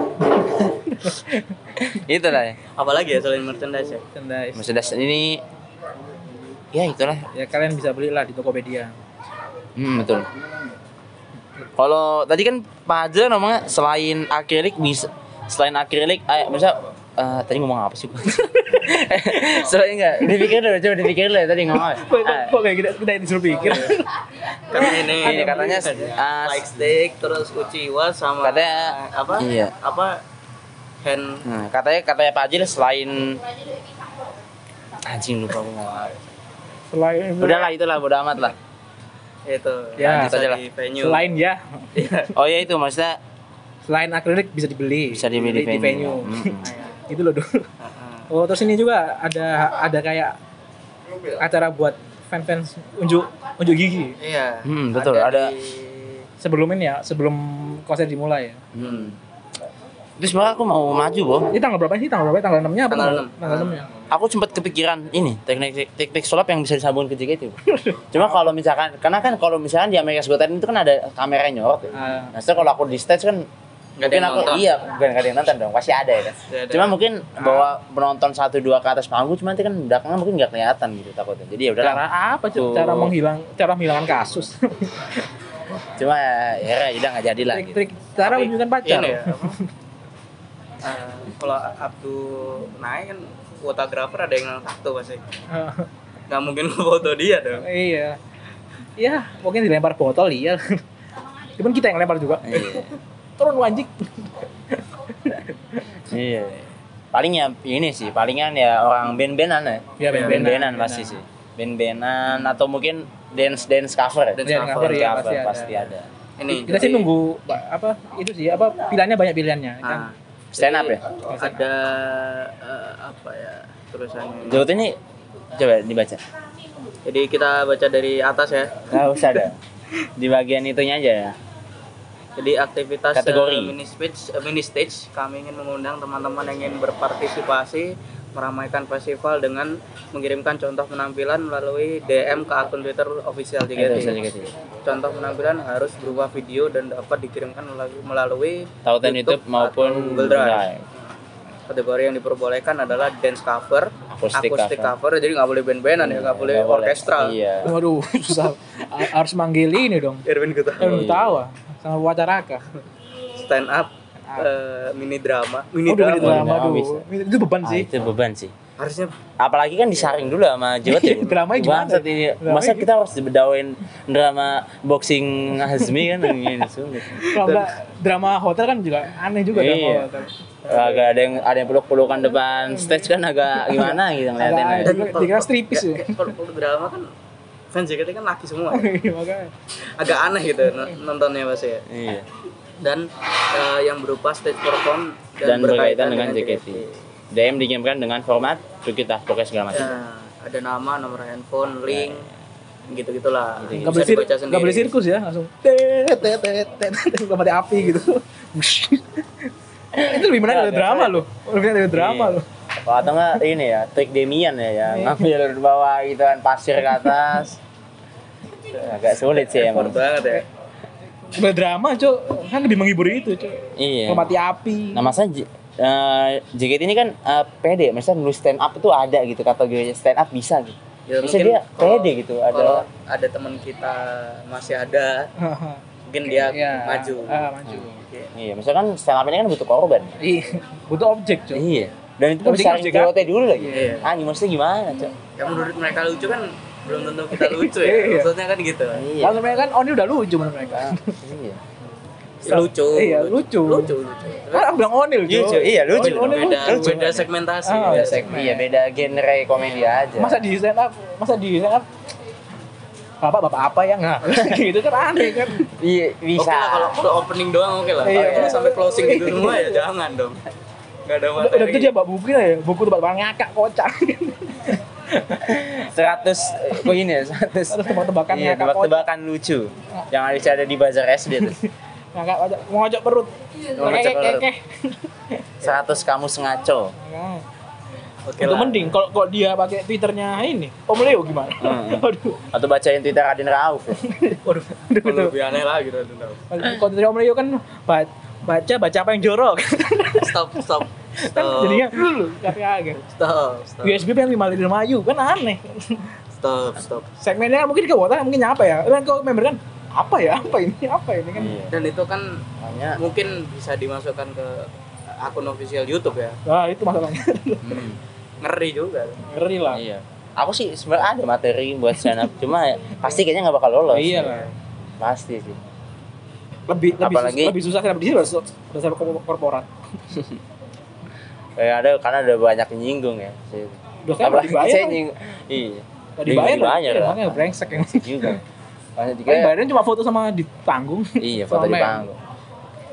Speaker 1: Itulah ya.
Speaker 2: apalagi ya selain merchandise ya
Speaker 3: Merchandise.
Speaker 1: Mercedes ini ya itulah
Speaker 3: Ya kalian bisa belilah di Tokopedia.
Speaker 1: Hmm, betul. Kalau tadi kan Pak Hajar ngomongnya selain akrilik bisa selain akrilik eh bisa eh, tadi ngomong apa sih? gua? selain enggak dipikir dulu coba dipikir dulu ya tadi ngomong apa?
Speaker 3: Kok kok
Speaker 1: Eh,
Speaker 3: kok kayak kita kita disuruh pikir.
Speaker 2: karena Kan ini
Speaker 1: Ini katanya, ah,
Speaker 2: like steak terus uchiwa sama
Speaker 1: Katanya-
Speaker 2: apa
Speaker 1: iya.
Speaker 2: apa hand
Speaker 1: nah, katanya katanya Pak Hajar selain anjing lupa gua ngomong apa.
Speaker 3: Selain
Speaker 1: Udah lah itulah bodo amat lah.
Speaker 2: itu
Speaker 3: Ya,
Speaker 1: itu aja
Speaker 2: bisa
Speaker 1: lah.
Speaker 2: di venue Iya.
Speaker 3: selain ya,
Speaker 1: Oh ya itu maksudnya
Speaker 3: selain akrilik bisa dibeli.
Speaker 1: Bisa dibeli di
Speaker 3: di venue.
Speaker 1: venue. Hmm. Mm-mm.
Speaker 3: Nah, Itu loh dulu. Oh, terus ini juga ada ada kayak acara buat fans-fans unjuk unjuk gigi.
Speaker 2: iya
Speaker 1: Hmm, betul, ada-
Speaker 2: di-
Speaker 3: Sebelum ini ya, sebelum konser dimulai ya.
Speaker 1: hmm. Terus malah aku mau maju, Bo.
Speaker 3: Ini tanggal berapa sih? Tanggal berapa? Tanggal 6-nya apa?
Speaker 2: Tanggal
Speaker 3: Tanggal
Speaker 2: 6.
Speaker 3: 6 ya.
Speaker 1: aku sempat kepikiran ini teknik teknik sulap yang bisa disambungin ke JKT. Bu. Cuma kalau misalkan karena kan kalau misalkan di Amerika Got Talent itu kan ada kamera yang nyorot. Ya.
Speaker 3: Ah.
Speaker 1: Nah, setelah kalau aku di stage kan
Speaker 2: Nggak ada
Speaker 1: mungkin
Speaker 2: yang
Speaker 1: aku
Speaker 2: nonton.
Speaker 1: iya bukan nggak ada yang nonton dong pasti ada ya kan.
Speaker 2: Pasti ada. Ah.
Speaker 1: Cuma mungkin bawa penonton satu dua ke atas panggung cuma nanti kan belakangnya mungkin nggak kelihatan gitu takutnya. Jadi ya udahlah.
Speaker 3: Cara apa cuy?
Speaker 1: Tuh.
Speaker 3: Cara menghilang cara menghilangkan kasus.
Speaker 1: Cuma ya ya udah nggak jadi lah gitu.
Speaker 3: Trik-trik cara
Speaker 2: Tapi
Speaker 3: menunjukkan pacar.
Speaker 2: ini ya, apa? Eh, kalau Abdul naik kan fotografer ada yang tato pasti nggak mungkin foto dia dong
Speaker 3: Ah. iya. Ya, mungkin dilempar botol iya. Cuman kita yang lempar juga.
Speaker 1: Iya.
Speaker 3: Turun lu anjing.
Speaker 1: Iya. Paling ya ini sih, palingan ya orang band-bandan ya.
Speaker 3: Iya, band-bandan.
Speaker 1: band-bandan pasti sih. Band-bandan atau mungkin dance-dance cover. ya.
Speaker 2: Dance
Speaker 3: Iya,
Speaker 2: cover,
Speaker 1: cover,
Speaker 3: iya,
Speaker 1: cover pasti ada.
Speaker 3: ada.
Speaker 2: ini
Speaker 3: Kita sih
Speaker 2: jadi-
Speaker 3: nunggu ba- apa itu sih apa pilihannya banyak pilihannya kan.
Speaker 2: Ah,
Speaker 1: Stand up ya?
Speaker 2: jadi ada eh, apa ya tulisannya
Speaker 1: Jawab ini coba dibaca.
Speaker 2: jadi kita baca dari atas ya
Speaker 1: Nggak usah ada. Di bagian itunya aja ya.
Speaker 2: Jadi aktivitas
Speaker 1: Kategori.
Speaker 2: eh, mini stage, eh, mini stage kami ingin mengundang teman-teman yang ingin berpartisipasi meramaikan festival dengan mengirimkan contoh penampilan melalui DM ke akun Twitter official
Speaker 1: Itu bisa
Speaker 2: JKT.
Speaker 1: juga sih.
Speaker 2: Contoh penampilan harus berupa video dan dapat dikirimkan melalui, melalui
Speaker 1: Tautan YouTube maupun
Speaker 2: atau Google Drive. Kategori yang diperbolehkan adalah dance cover,
Speaker 1: Acoustic
Speaker 2: cover. jadi nggak boleh band-bandan ya, nggak boleh orkestra.
Speaker 1: Iya.
Speaker 3: Waduh, susah. A- harus manggil ini dong.
Speaker 2: Irwin Gutawa.
Speaker 3: Kan belum tahu ah, sama wacaraka.
Speaker 2: stand up, eh, mini drama, mini
Speaker 3: Udah
Speaker 2: drama.
Speaker 3: gitu drama
Speaker 1: drama
Speaker 3: aduh.
Speaker 1: bisa.
Speaker 3: Itu beban
Speaker 1: Ah,
Speaker 3: sih.
Speaker 1: itu beban sih.
Speaker 2: Harusnya
Speaker 1: Apalagi kan disaring dulu sama Jawa ya. Bu.
Speaker 3: Dramanya gimana?
Speaker 1: Bangsat ini.
Speaker 3: Dramanya
Speaker 1: Masa kita harus bedawain drama boxing Hazmi kan ini sulit.
Speaker 3: Kalau enggak drama hotel kan juga aneh juga drama
Speaker 1: Iya.
Speaker 3: hotel.
Speaker 1: Agak ada yang ada yang peluk-pelukan depan stage kan agak gimana gitu ngeliatin.
Speaker 3: Agak
Speaker 1: aja.
Speaker 3: Dikira- dikira stripis ya.
Speaker 2: Kayak- kayak Kalau kalau drama kan fans JKT kan laki semua. ya.
Speaker 3: Iya, Makanya.
Speaker 2: Agak aneh gitu n- nontonnya pasti ya.
Speaker 1: Iya.
Speaker 2: Dan eh, yang berupa stage perform
Speaker 1: Dan berkaitan dengan JKT. DM dikirimkan dengan format Sukita, pokoknya segala macam.
Speaker 2: Ya, ada nama, nomor handphone, link, gitu gitulah
Speaker 1: Gitu-gitu.
Speaker 3: Gak boleh,
Speaker 2: bisa
Speaker 3: sir-
Speaker 2: dibaca sendiri
Speaker 3: nggak boleh sirkus ya langsung tet tet tet tet tet, nggak mati api gitu itu lebih menarik dari
Speaker 1: Nggak,
Speaker 3: drama loh lebih menarik dari drama
Speaker 1: Iya.
Speaker 3: loh
Speaker 1: Kalau atau enggak ini ya, trik Demian ya, ya.
Speaker 3: Iya.
Speaker 1: ngambil dari bawah gitu kan, pasir ke atas. Agak sulit sih
Speaker 2: Effort
Speaker 1: emang.
Speaker 2: banget ya
Speaker 3: Sebenarnya drama cok kan lebih menghibur itu cok
Speaker 1: Iya.
Speaker 3: Nggak mati api
Speaker 1: Nah, masa J- eh, JKT ini kan eh, pede, misalnya nulis stand up itu ada gitu, kategori stand up bisa gitu.
Speaker 2: Ya,
Speaker 1: Bisa
Speaker 2: mungkin
Speaker 1: dia
Speaker 2: kalau-
Speaker 1: pede gitu,
Speaker 2: kalau
Speaker 1: ada
Speaker 2: ada teman kita masih ada
Speaker 3: Haha.
Speaker 2: mungkin dia
Speaker 3: Iya.
Speaker 2: maju
Speaker 3: Ah, maju
Speaker 1: Iya, misalkan stand up ini kan butuh korban.
Speaker 3: Iya. butuh objek cok
Speaker 1: Iya. Dan itu pun
Speaker 3: Mending
Speaker 2: kan
Speaker 1: sekarang
Speaker 3: objek
Speaker 1: JKT dulu lagi.
Speaker 2: Iya.
Speaker 1: Ah, ini maksudnya gimana, Cok?
Speaker 2: ya menurut mereka lucu kan belum tentu kita lucu ya
Speaker 3: Iya.
Speaker 2: maksudnya kan gitu
Speaker 1: Iya.
Speaker 3: Kalau mereka kan Oni udah lucu menurut mereka.
Speaker 1: Iya.
Speaker 2: Ya, lucu
Speaker 3: Iya,
Speaker 2: lucu
Speaker 3: lucu.
Speaker 2: lucu
Speaker 3: Kan aku bilang Onil, Cok.
Speaker 1: Lucu, iya lucu.
Speaker 3: Oh, Onil
Speaker 2: beda
Speaker 3: lucu.
Speaker 2: beda segmentasi
Speaker 3: Ah,
Speaker 2: beda
Speaker 3: beda
Speaker 2: segmen.
Speaker 3: segmen.
Speaker 1: Iya, beda genre komedi aja.
Speaker 3: Masa di stand up, masa di stand up Bapak bapak apa ya nggak? gitu kan aneh kan.
Speaker 1: Iya,
Speaker 2: Oke
Speaker 1: bisa.
Speaker 2: lah kalau kalau opening doang oke lah. Kalau
Speaker 3: Iya, iya.
Speaker 2: itu sampai closing gitu semua ya jangan dong. Gak ada
Speaker 3: Udah, udah
Speaker 2: materi.
Speaker 3: gitu dia bawa buku lah ya, buku tempat orang ngakak kocak.
Speaker 1: 100 kok ini ya, 100.
Speaker 3: Harus tebak-tebakan ya,
Speaker 1: Iya,
Speaker 3: ngakak
Speaker 1: tebak-tebakan lucu. Yang ada ada di bazar SD tuh.
Speaker 3: Ngakak kocak, ngocok perut.
Speaker 1: Ngocok
Speaker 3: Kekek,
Speaker 1: perut.
Speaker 3: kekek.
Speaker 1: 100 kamu sengaco.
Speaker 3: Nah,
Speaker 2: Oke
Speaker 3: Itu
Speaker 2: lah.
Speaker 3: mending kalau kalau dia pakai Twitternya ini, Om Leo gimana?
Speaker 1: Hmm.
Speaker 3: Aduh,
Speaker 1: Atau bacain Twitter Adin Rauf. Ya.
Speaker 3: waduh,
Speaker 2: Kalau
Speaker 3: aduh, aduh.
Speaker 2: lebih aneh lagi tuh. tuh, tuh.
Speaker 3: Kalau Twitter Om Leo kan ba- baca baca apa yang jorok.
Speaker 2: Stop stop
Speaker 3: kan
Speaker 2: stop.
Speaker 3: jadinya Iya. dulu kagak.
Speaker 2: stop stop
Speaker 3: USB yang lima liter mayu kan aneh.
Speaker 2: stop stop.
Speaker 3: Segmennya mungkin ke water, mungkin apa ya? Kan kalau member kan apa ya? Apa ini? Apa ini kan?
Speaker 1: Iya.
Speaker 2: Dan itu kan
Speaker 1: Makanya
Speaker 2: mungkin bisa dimasukkan ke akun official YouTube ya.
Speaker 3: Wah, Nah, itu masalahnya.
Speaker 2: Ngeri juga.
Speaker 3: Ngeri lah.
Speaker 1: hmm, iya. Aku sih sebenarnya ada materi buat stand up, cuma ya, pasti kayaknya nggak bakal lolos.
Speaker 3: Iya lah.
Speaker 1: Pasti sih.
Speaker 3: Lebih lebih
Speaker 1: Apalagi-
Speaker 3: susah, lebih susah kenapa di sini udah su- udah sampai kor- korporat.
Speaker 1: Kayak Eh, ada karena ada banyak yang nyinggung ya.
Speaker 3: Udah kan nggak dibayar.
Speaker 1: saya nyinggung. Iya.
Speaker 3: Nggak dibayar.
Speaker 1: Nggak dibayar
Speaker 3: Iya,
Speaker 1: lah.
Speaker 3: Makanya brengsek yang
Speaker 1: Juga. Banyak juga.
Speaker 3: Paling bayarnya cuma foto sama di panggung.
Speaker 1: Iya, foto di
Speaker 3: Sama-
Speaker 1: panggung.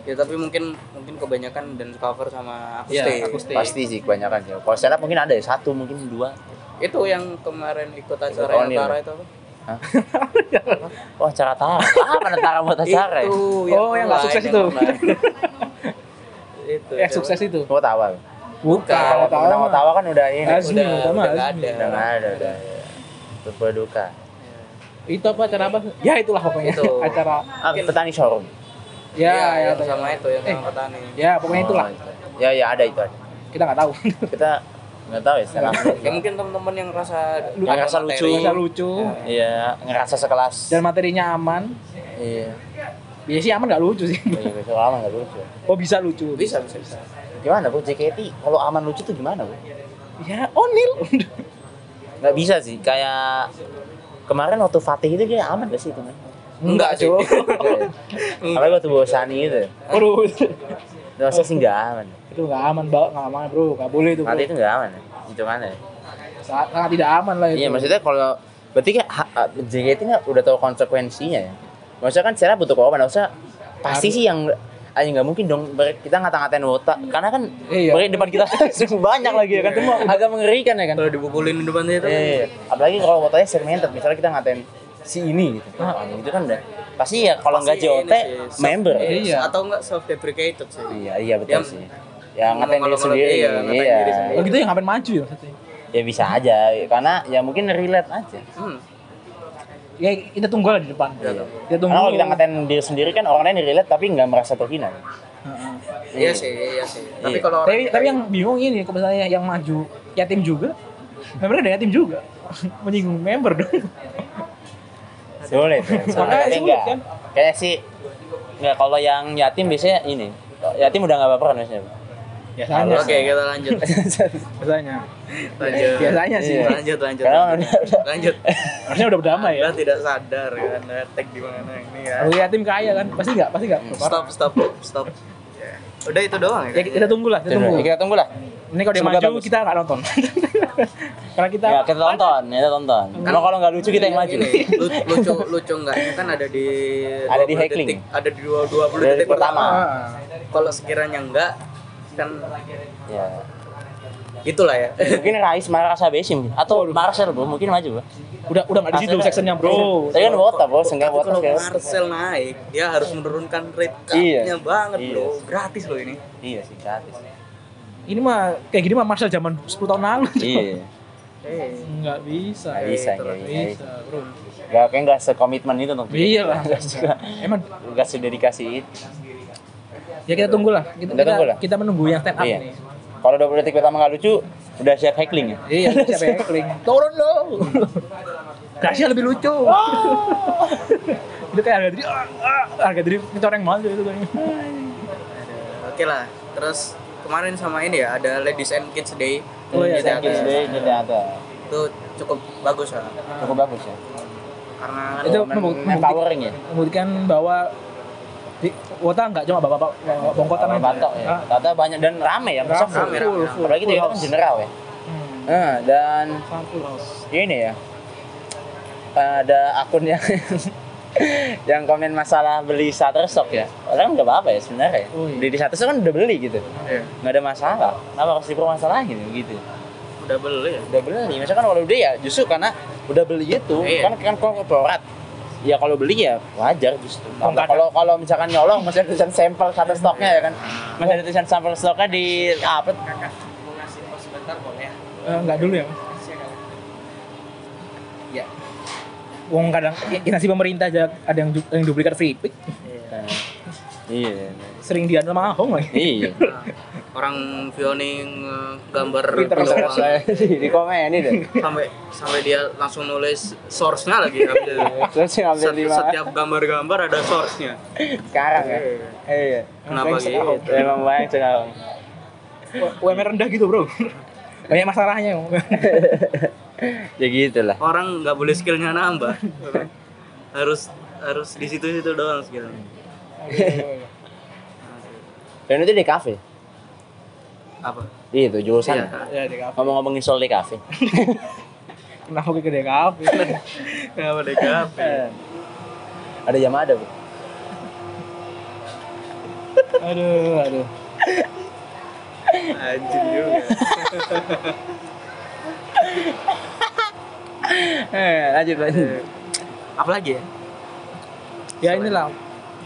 Speaker 2: Ya tapi mungkin mungkin kebanyakan dan cover sama
Speaker 3: Iya,
Speaker 2: akustik.
Speaker 3: akustik.
Speaker 1: Pasti sih kebanyakan sih. Kalau stand up mungkin ada ya satu, mungkin dua.
Speaker 2: Itu yang kemarin ikut acara
Speaker 1: Ikut
Speaker 2: yang
Speaker 1: Onil.
Speaker 2: Tara itu apa?
Speaker 1: Wah, Oh, acara tara. Apa tara buat acara? ya?
Speaker 2: Itu
Speaker 3: Oh, yang nggak
Speaker 2: online,
Speaker 3: sukses
Speaker 2: yang
Speaker 3: itu.
Speaker 2: online. itu.
Speaker 3: Eh
Speaker 2: siapa?
Speaker 3: sukses itu.
Speaker 1: Mau tawa.
Speaker 2: Kalau
Speaker 1: Oh, Kalau tawa,
Speaker 3: tahu.
Speaker 1: tawa kan udah ini.
Speaker 3: Azmi,
Speaker 2: Udah-
Speaker 3: utama
Speaker 2: udah nggak
Speaker 3: Azmi.
Speaker 2: ada.
Speaker 1: Udah nggak ada. Udah. Berbuat duka.
Speaker 3: Itu apa acara apa? Ya itulah pokoknya
Speaker 2: Itu.
Speaker 3: acara.
Speaker 1: Ah, petani showroom.
Speaker 3: Ya, ya,
Speaker 2: Iya, yang
Speaker 3: itu.
Speaker 2: sama itu yang
Speaker 3: Eh.
Speaker 2: sama petani.
Speaker 3: ya pokoknya itulah.
Speaker 1: Oh, Ya ya ada itu ada.
Speaker 3: Kita nggak tahu.
Speaker 1: Kita nggak tahu ya setelah.
Speaker 2: Ya mungkin teman-teman yang rasa
Speaker 3: Lu-
Speaker 1: Yang rasa lucu.
Speaker 3: Bisa lucu
Speaker 1: Iya ngerasa sekelas.
Speaker 3: dan materinya aman.
Speaker 1: Iya.
Speaker 3: Biasanya sih aman nggak lucu sih.
Speaker 1: Iya besok aman nggak lucu.
Speaker 3: Oh bisa lucu.
Speaker 2: bisa bisa bisa.
Speaker 1: Gimana bu JKT? Kalau aman lucu tuh gimana bu?
Speaker 3: Ya, Onil.
Speaker 1: Nggak bisa sih. Kayak kemarin waktu Fatih itu dia aman gak sih teman?
Speaker 2: Enggak,
Speaker 3: Jo.
Speaker 2: sih.
Speaker 1: Apalagi Iya. waktu Bosani itu.
Speaker 3: Bro, itu
Speaker 1: Itu Maksudnya sih nggak aman.
Speaker 3: itu nggak aman, Mbak. Nggak aman, Bro. Nggak boleh itu, Bro.
Speaker 1: Fatih itu nggak aman. Itu mana? ya?
Speaker 3: Sangat, sangat tidak aman lah itu.
Speaker 1: Iya maksudnya kalau berarti kan ha- ha- JKT nggak udah tahu konsekuensinya ya. Maksudnya kan secara butuh korban, maksudnya pasti
Speaker 3: Harus.
Speaker 1: sih yang aja nggak mungkin dong ber- kita ngata-ngatain wota karena kan
Speaker 3: Iya.
Speaker 1: beri depan kita langsung banyak lagi ya kan cuma
Speaker 2: Iya.
Speaker 1: agak mengerikan ya kan.
Speaker 2: Kalau dibubulin di depan dia itu
Speaker 1: Iya,
Speaker 3: Eh,
Speaker 1: iya. apalagi kalau wotanya segmented misalnya kita ngatain si ini gitu. Nah, anjing itu kan udah pasti ya kalau nggak
Speaker 2: pasti ini
Speaker 1: JOT
Speaker 2: sih, self-
Speaker 1: member.
Speaker 3: Iya.
Speaker 2: Atau enggak self deprecated sih.
Speaker 1: Iya iya betul
Speaker 2: Yang-
Speaker 1: sih. Ya ngatain diri
Speaker 2: Ngomong-ngomong,
Speaker 1: sendiri.
Speaker 2: iya, ngatain
Speaker 1: Iya.
Speaker 2: diri sendiri.
Speaker 3: Oh, gitu yang ngapain maju ya maksudnya.
Speaker 1: Ya bisa aja karena ya mungkin relate aja.
Speaker 2: Hmm.
Speaker 3: Ya, kita tunggu lah di depan.
Speaker 1: Iya.
Speaker 3: Kita Ya, tunggu.
Speaker 1: Karena kalau kita ngatain diri sendiri kan orang lain relate tapi nggak merasa terhina.
Speaker 3: Heeh.
Speaker 2: Iya sih, iya sih. Tapi
Speaker 1: Iya.
Speaker 2: kalau
Speaker 3: Tapi,
Speaker 2: orang
Speaker 3: tapi yang bingung ini, kalau misalnya yang maju yatim juga, membernya ada yatim juga. Menyinggung member dong.
Speaker 1: Sulit. ya, sulit.
Speaker 3: Makanya
Speaker 1: Tapi
Speaker 3: sulit,
Speaker 1: enggak.
Speaker 3: kan?
Speaker 1: Kayaknya sih nggak kalau yang yatim biasanya ini. Yatim udah nggak apa-apa kan biasanya.
Speaker 3: Biasanya.
Speaker 2: Oke, kita lanjut.
Speaker 3: Biasanya.
Speaker 2: Iya, Lanjut.
Speaker 3: Biasanya sih.
Speaker 1: Iya.
Speaker 2: Lanjut, lanjut.
Speaker 1: Karena
Speaker 2: Lanjut.
Speaker 1: udah-
Speaker 2: lanjut.
Speaker 3: Harusnya udah berdamai ya.
Speaker 2: Anda tidak sadar kan tag di mana ini ya.
Speaker 3: Kalau yatim kaya kan, pasti nggak, pasti nggak.
Speaker 2: Stop, stop, stop. Ya. Udah itu doang ya.
Speaker 3: Ya, kita tunggu lah, kita tunggu.
Speaker 1: Ya, Kita tunggu lah.
Speaker 3: Ini kalau dia
Speaker 1: Semoga
Speaker 3: maju
Speaker 1: bagus.
Speaker 3: kita nggak nonton. Karena kita Iya,
Speaker 1: Ya, kita tonton, ya, kita tonton. Kalau kalau nggak lucu kita yang maju.
Speaker 2: Ini, lu- lucu lucu enggaknya kan ada di
Speaker 1: Ada di
Speaker 2: 20
Speaker 1: heckling.
Speaker 2: detik- ada di dua dua puluh
Speaker 1: Dari
Speaker 2: detik
Speaker 1: pertama.
Speaker 2: pertama
Speaker 3: Ah. iya.
Speaker 2: kalau sekiranya enggak kan
Speaker 1: Ya.
Speaker 2: Gitulah ya.
Speaker 1: mungkin Rais marah rasa besim gitu. atau Marcel bro mungkin maju bro
Speaker 3: Udah udah nggak di situ sectionnya bro.
Speaker 1: tapi kan botak bos enggak
Speaker 2: Tapi
Speaker 1: botak
Speaker 2: kalau
Speaker 1: kan
Speaker 2: Marcel naik, dia harus menurunkan rate
Speaker 1: Iya.
Speaker 2: card-nya banget
Speaker 1: Iya.
Speaker 2: bro. Gratis loh ini.
Speaker 1: iya sih gratis
Speaker 3: Ini mah kayak gini mah Marcel zaman 10 tahun lalu.
Speaker 1: iya
Speaker 2: Eh,
Speaker 3: Nggak bisa.
Speaker 1: nggak
Speaker 3: ya.
Speaker 1: bisa
Speaker 2: Terus
Speaker 1: nggak
Speaker 3: Nggak
Speaker 1: bisa
Speaker 3: bisa, bro.
Speaker 1: nggak kayak nggak sekomitmen itu untuk
Speaker 3: Iya lah. Emang
Speaker 1: nggak sededikasi itu
Speaker 3: ya kita tunggulah. Kita,
Speaker 1: Kita
Speaker 3: kita,
Speaker 1: tunggulah.
Speaker 3: kita menunggu yang stand up
Speaker 1: Iya.
Speaker 3: nih.
Speaker 1: kalau 20 detik pertama nggak lucu udah siap heckling ya
Speaker 3: Iya, siapa yang kling? Turun lo. Gracia lebih lucu.
Speaker 1: Oh.
Speaker 3: itu kayak harga diri, ah, ah, harga diri mencoreng banget itu kayaknya.
Speaker 2: Oke lah. Terus kemarin sama ini ya ada Ladies and Kids Day.
Speaker 3: Oh iya,
Speaker 2: Di
Speaker 1: Thank you,
Speaker 2: teater.
Speaker 1: Day, di teater.
Speaker 2: Itu cukup bagus lah.
Speaker 1: cukup bagus ya
Speaker 2: Karena kan
Speaker 3: Itu
Speaker 1: Men-
Speaker 3: membuk- membuktikan,
Speaker 1: empowering ya
Speaker 3: membuktikan bahwa di Wota nggak cuma bapak-bapak bapak bongkotan
Speaker 1: Kalau
Speaker 3: aja.
Speaker 1: batok ya
Speaker 3: Ah,
Speaker 1: ternyata banyak dan rame ya besok
Speaker 2: Rame, rame.
Speaker 3: full, full,
Speaker 1: apalagi
Speaker 3: full
Speaker 1: teater kan
Speaker 3: house.
Speaker 1: general ya
Speaker 3: Hmm,
Speaker 1: Eh, dan
Speaker 3: full house.
Speaker 1: ini ya ada akun yang yang komen masalah beli shutterstock ya orang nggak apa-apa ya sebenarnya
Speaker 3: Oh, iya.
Speaker 1: beli di shutterstock kan udah beli gitu
Speaker 2: Iya.
Speaker 1: nggak ada masalah kenapa harus dipermasalahin gitu
Speaker 2: udah beli ya.
Speaker 1: udah beli misalkan kalau udah ya justru karena udah beli itu
Speaker 2: Iya.
Speaker 1: kan kan korporat ya kalau beli ya wajar justru Kalau-
Speaker 3: Kadang-
Speaker 1: kalau kalau misalkan nyolong masih ada tulisan sampel shutterstocknya ya kan masih ada tulisan sampel stocknya di apa
Speaker 3: Eh, nggak dulu ya. Mas?
Speaker 2: Iya.
Speaker 3: Wong kadang instansi pemerintah aja ada yang du- yang duplikat free
Speaker 1: iya
Speaker 3: sering diantar sama Ahong lagi.
Speaker 1: iya
Speaker 2: Nah, orang Vioni gambar
Speaker 3: Pinter
Speaker 2: doang.
Speaker 1: di komen ini deh
Speaker 2: sampai sampai dia langsung nulis source-nya lagi ambil.
Speaker 1: terus yang ambil
Speaker 2: Set-
Speaker 1: di mana?
Speaker 2: setiap gambar-gambar ada source-nya.
Speaker 1: sekarang ya iya
Speaker 2: Kenapa
Speaker 1: Emang
Speaker 2: gitu?
Speaker 1: sekarang. emang banyak sekarang
Speaker 3: UMR rendah gitu bro banyak masalahnya
Speaker 1: ya gitulah
Speaker 2: Orang nggak boleh skillnya nambah. harus harus di situ-situ doang skillnya.
Speaker 1: dan itu di kafe
Speaker 2: Apa?
Speaker 1: itu jurusan
Speaker 2: Iya.
Speaker 3: ya DKP
Speaker 1: ngomong-ngomongin soal di kafe
Speaker 3: kenapa gue Nah, ke DKP
Speaker 2: Kenapa DKP?
Speaker 1: ada jam ada bu
Speaker 3: aduh aduh
Speaker 2: Anjing juga.
Speaker 1: eh lanjut lanjut
Speaker 2: Apalagi ya?
Speaker 3: ya inilah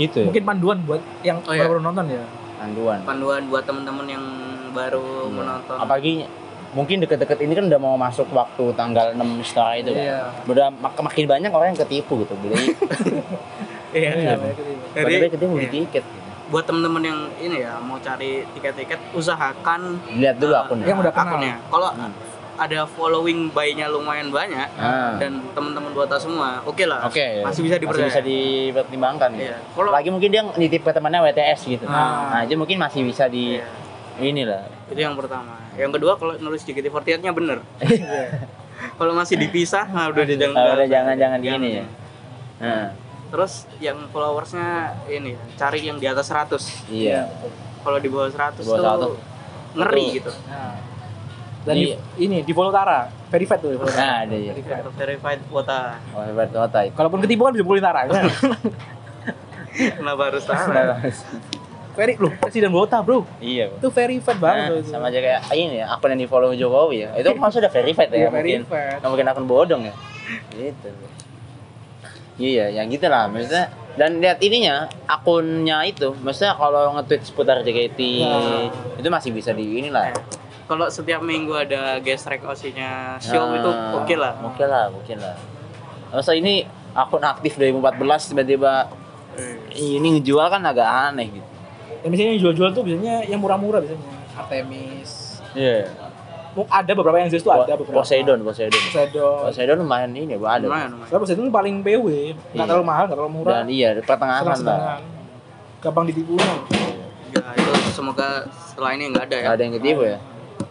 Speaker 1: gitu
Speaker 3: mungkin panduan buat yang
Speaker 2: Oh, iya.
Speaker 3: baru nonton ya
Speaker 1: panduan
Speaker 2: Panduan buat teman-teman yang baru menonton.
Speaker 1: apalagi mungkin deket-deket ini kan udah mau masuk waktu tanggal 6 setara itu kan
Speaker 3: Iya.
Speaker 1: udah mak- makin banyak orang yang ketipu gitu beli
Speaker 2: Iya.
Speaker 1: Padahal
Speaker 2: Jadi,
Speaker 1: ketipu beli
Speaker 2: iya.
Speaker 1: tiket gitu.
Speaker 2: buat teman-teman yang ini ya mau cari tiket-tiket usahakan
Speaker 1: lihat dulu
Speaker 2: eh,
Speaker 1: akunnya
Speaker 3: Yang udah kenal.
Speaker 2: akunnya. Kalau
Speaker 1: Hmm.
Speaker 2: ada following buy-nya lumayan banyak
Speaker 1: Ah.
Speaker 2: dan teman-teman buat semua, oke lah.
Speaker 1: Oke, ya.
Speaker 2: Masih bisa dipercaya.
Speaker 1: Masih bisa dipertimbangkan. gitu.
Speaker 2: Iya. Kalau-
Speaker 1: Lagi mungkin dia nitip ke temannya WTS gitu.
Speaker 3: Ah.
Speaker 1: Nah, itu mungkin masih bisa di
Speaker 2: Iya.
Speaker 1: inilah.
Speaker 2: Itu yang pertama. Yang kedua kalau nulis JKT48-nya bener. kalau masih dipisah, nah udah dia jangan.
Speaker 1: Nah, udah jangan-jangan gini ya. Nah,
Speaker 2: Terus yang followersnya ini, cari yang di atas 100.
Speaker 1: iya.
Speaker 2: Kalau di bawah 100
Speaker 1: Di bawah
Speaker 2: tuh ngeri
Speaker 1: Betul.
Speaker 2: gitu.
Speaker 3: Nah. dan
Speaker 1: Iya.
Speaker 3: di- ini di Voltara verified tuh ya, Voltara
Speaker 1: Nah, ada ya.
Speaker 2: Verified- Verified kuota.
Speaker 1: Oh, hebat kota itu.
Speaker 3: kalaupun ketipu kan bisa pukulin Tara kan?
Speaker 2: Kenapa harus salah?
Speaker 1: Nah,
Speaker 3: Veri, loh presiden Volta bro
Speaker 1: iya. Bu.
Speaker 3: itu verified banget
Speaker 1: Nah,
Speaker 3: loh itu.
Speaker 1: sama aja kayak ini ya, akun yang di follow Jokowi ya. Itu maksudnya udah verified ya,
Speaker 3: Iya,
Speaker 1: mungkin.
Speaker 3: verified.
Speaker 1: Nggak mungkin akun bodong ya. Gitu. Iya, yang gitu lah maksudnya. Dan lihat ininya, akunnya itu, maksudnya kalau nge-tweet seputar JKT itu masih bisa di inilah.
Speaker 2: Eh, Kalau setiap minggu ada gesrek osinya
Speaker 1: Nah,
Speaker 2: show itu oke lah.
Speaker 1: Oke lah, oke lah. Masa ini akun aktif dari 2014 tiba-tiba ini ngejual kan agak aneh gitu.
Speaker 3: dan biasanya yang jual-jual tuh biasanya yang murah-murah biasanya Artemis
Speaker 1: Iya.
Speaker 3: Mungkin ada beberapa yang jenis tuh ada beberapa
Speaker 1: Poseidon, Poseidon.
Speaker 3: Poseidon
Speaker 1: Poseidon lumayan ini, Bu, ada.
Speaker 2: Lumayan, lumayan.
Speaker 3: Soalnya Poseidon itu paling PW,
Speaker 1: Iya.
Speaker 3: nggak terlalu mahal, nggak terlalu murah,
Speaker 1: Dan iya, di pertengahan lah.
Speaker 3: senang-senangan. Gampang ditipu.
Speaker 2: Ya, itu semoga setelah ini nggak ada ya.
Speaker 1: Gak ada yang ketipu ya.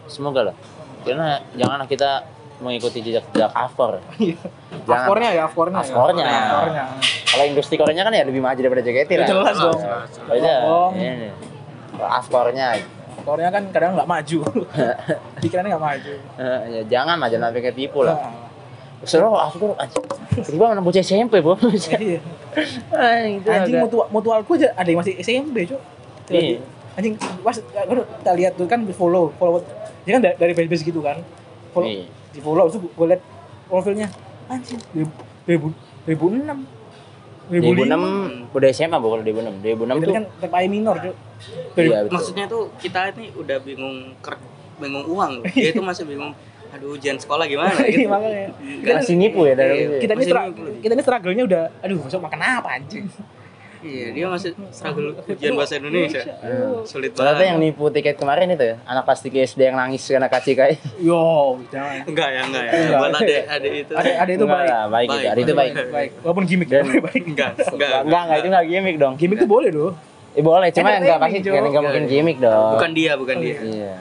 Speaker 1: Semoga lah. Karena janganlah kita mengikuti jejak-jejak Afor. Jangan.
Speaker 3: Afkornya ya, afkornya. ya.
Speaker 1: Iya. Afkornya.
Speaker 3: Afkornya.
Speaker 1: Kalau industri Koreanya kan ya lebih maju daripada JKT
Speaker 3: Ya
Speaker 1: lah.
Speaker 3: jelas dong.
Speaker 1: Oh, iya.
Speaker 3: Bohong.
Speaker 1: Ini. Afornya.
Speaker 3: Afkornya kan kadang nggak maju. Pikirannya nggak maju. Nah,
Speaker 1: Eh, ya jangan lah, jangan sampai ketipu lah. Seru aku anjing. Gua anak bocah SMP, Bro.
Speaker 3: Nah, iya.
Speaker 1: Anjing, itu
Speaker 3: Anjing
Speaker 1: agak-
Speaker 3: mutual, mutualku aja ada yang masih SMP, Cuk.
Speaker 1: Iya.
Speaker 3: Anjing, pas aduh, kita lihat tuh kan di follow, follow Dia kan da- dari fanbase gitu kan. Follow,
Speaker 1: Iya.
Speaker 3: Di follow itu gue liat profilnya. Anjir, 2000 2006.
Speaker 1: 2006 udah SMA bu kalau 2006. 2006
Speaker 3: Itu
Speaker 1: tuh
Speaker 3: kan tetap A minor, Cuk. Dari-
Speaker 1: iya betul.
Speaker 2: maksudnya tuh kita ini udah bingung ker bingung uang loh. dia itu masih bingung aduh ujian sekolah gimana
Speaker 3: Iya,
Speaker 2: gitu
Speaker 3: makanya.
Speaker 2: Nggak-
Speaker 1: Masih nipu ya dari
Speaker 2: Iya.
Speaker 1: dulu ya?
Speaker 3: Kita ini
Speaker 2: Masih
Speaker 3: stra-
Speaker 2: dulu.
Speaker 3: kita ini struggle-nya udah aduh besok makan apa anjing.
Speaker 2: iya dia masih struggle ujian bahasa Indonesia
Speaker 1: Hmm.
Speaker 3: Aduh.
Speaker 2: sulit
Speaker 1: Ternyata yang
Speaker 2: banget
Speaker 1: nipu tiket kemarin itu ya, anak kelas 3 SD yang nangis karena KCK.
Speaker 3: Yo, jangan.
Speaker 2: enggak ya enggak ya
Speaker 3: Enggak.
Speaker 2: buat adik adik itu
Speaker 3: Ada ada itu
Speaker 1: Enggak
Speaker 3: baik.
Speaker 1: lah, baik.
Speaker 2: Baik,
Speaker 1: itu, Hari itu baik.
Speaker 2: baik.
Speaker 3: Walaupun gimmick
Speaker 1: Dan-
Speaker 3: tapi baik.
Speaker 2: enggak enggak
Speaker 1: Enggak, enggak, enggak, itu enggak gimmick dong.
Speaker 3: Gimmick tuh boleh loh.
Speaker 1: Eh, boleh, cuma
Speaker 3: Entertaining,
Speaker 1: enggak pasti
Speaker 3: Jo.
Speaker 1: enggak enggak mungkin gimmick dong.
Speaker 2: bukan dia bukan dia
Speaker 1: Iya.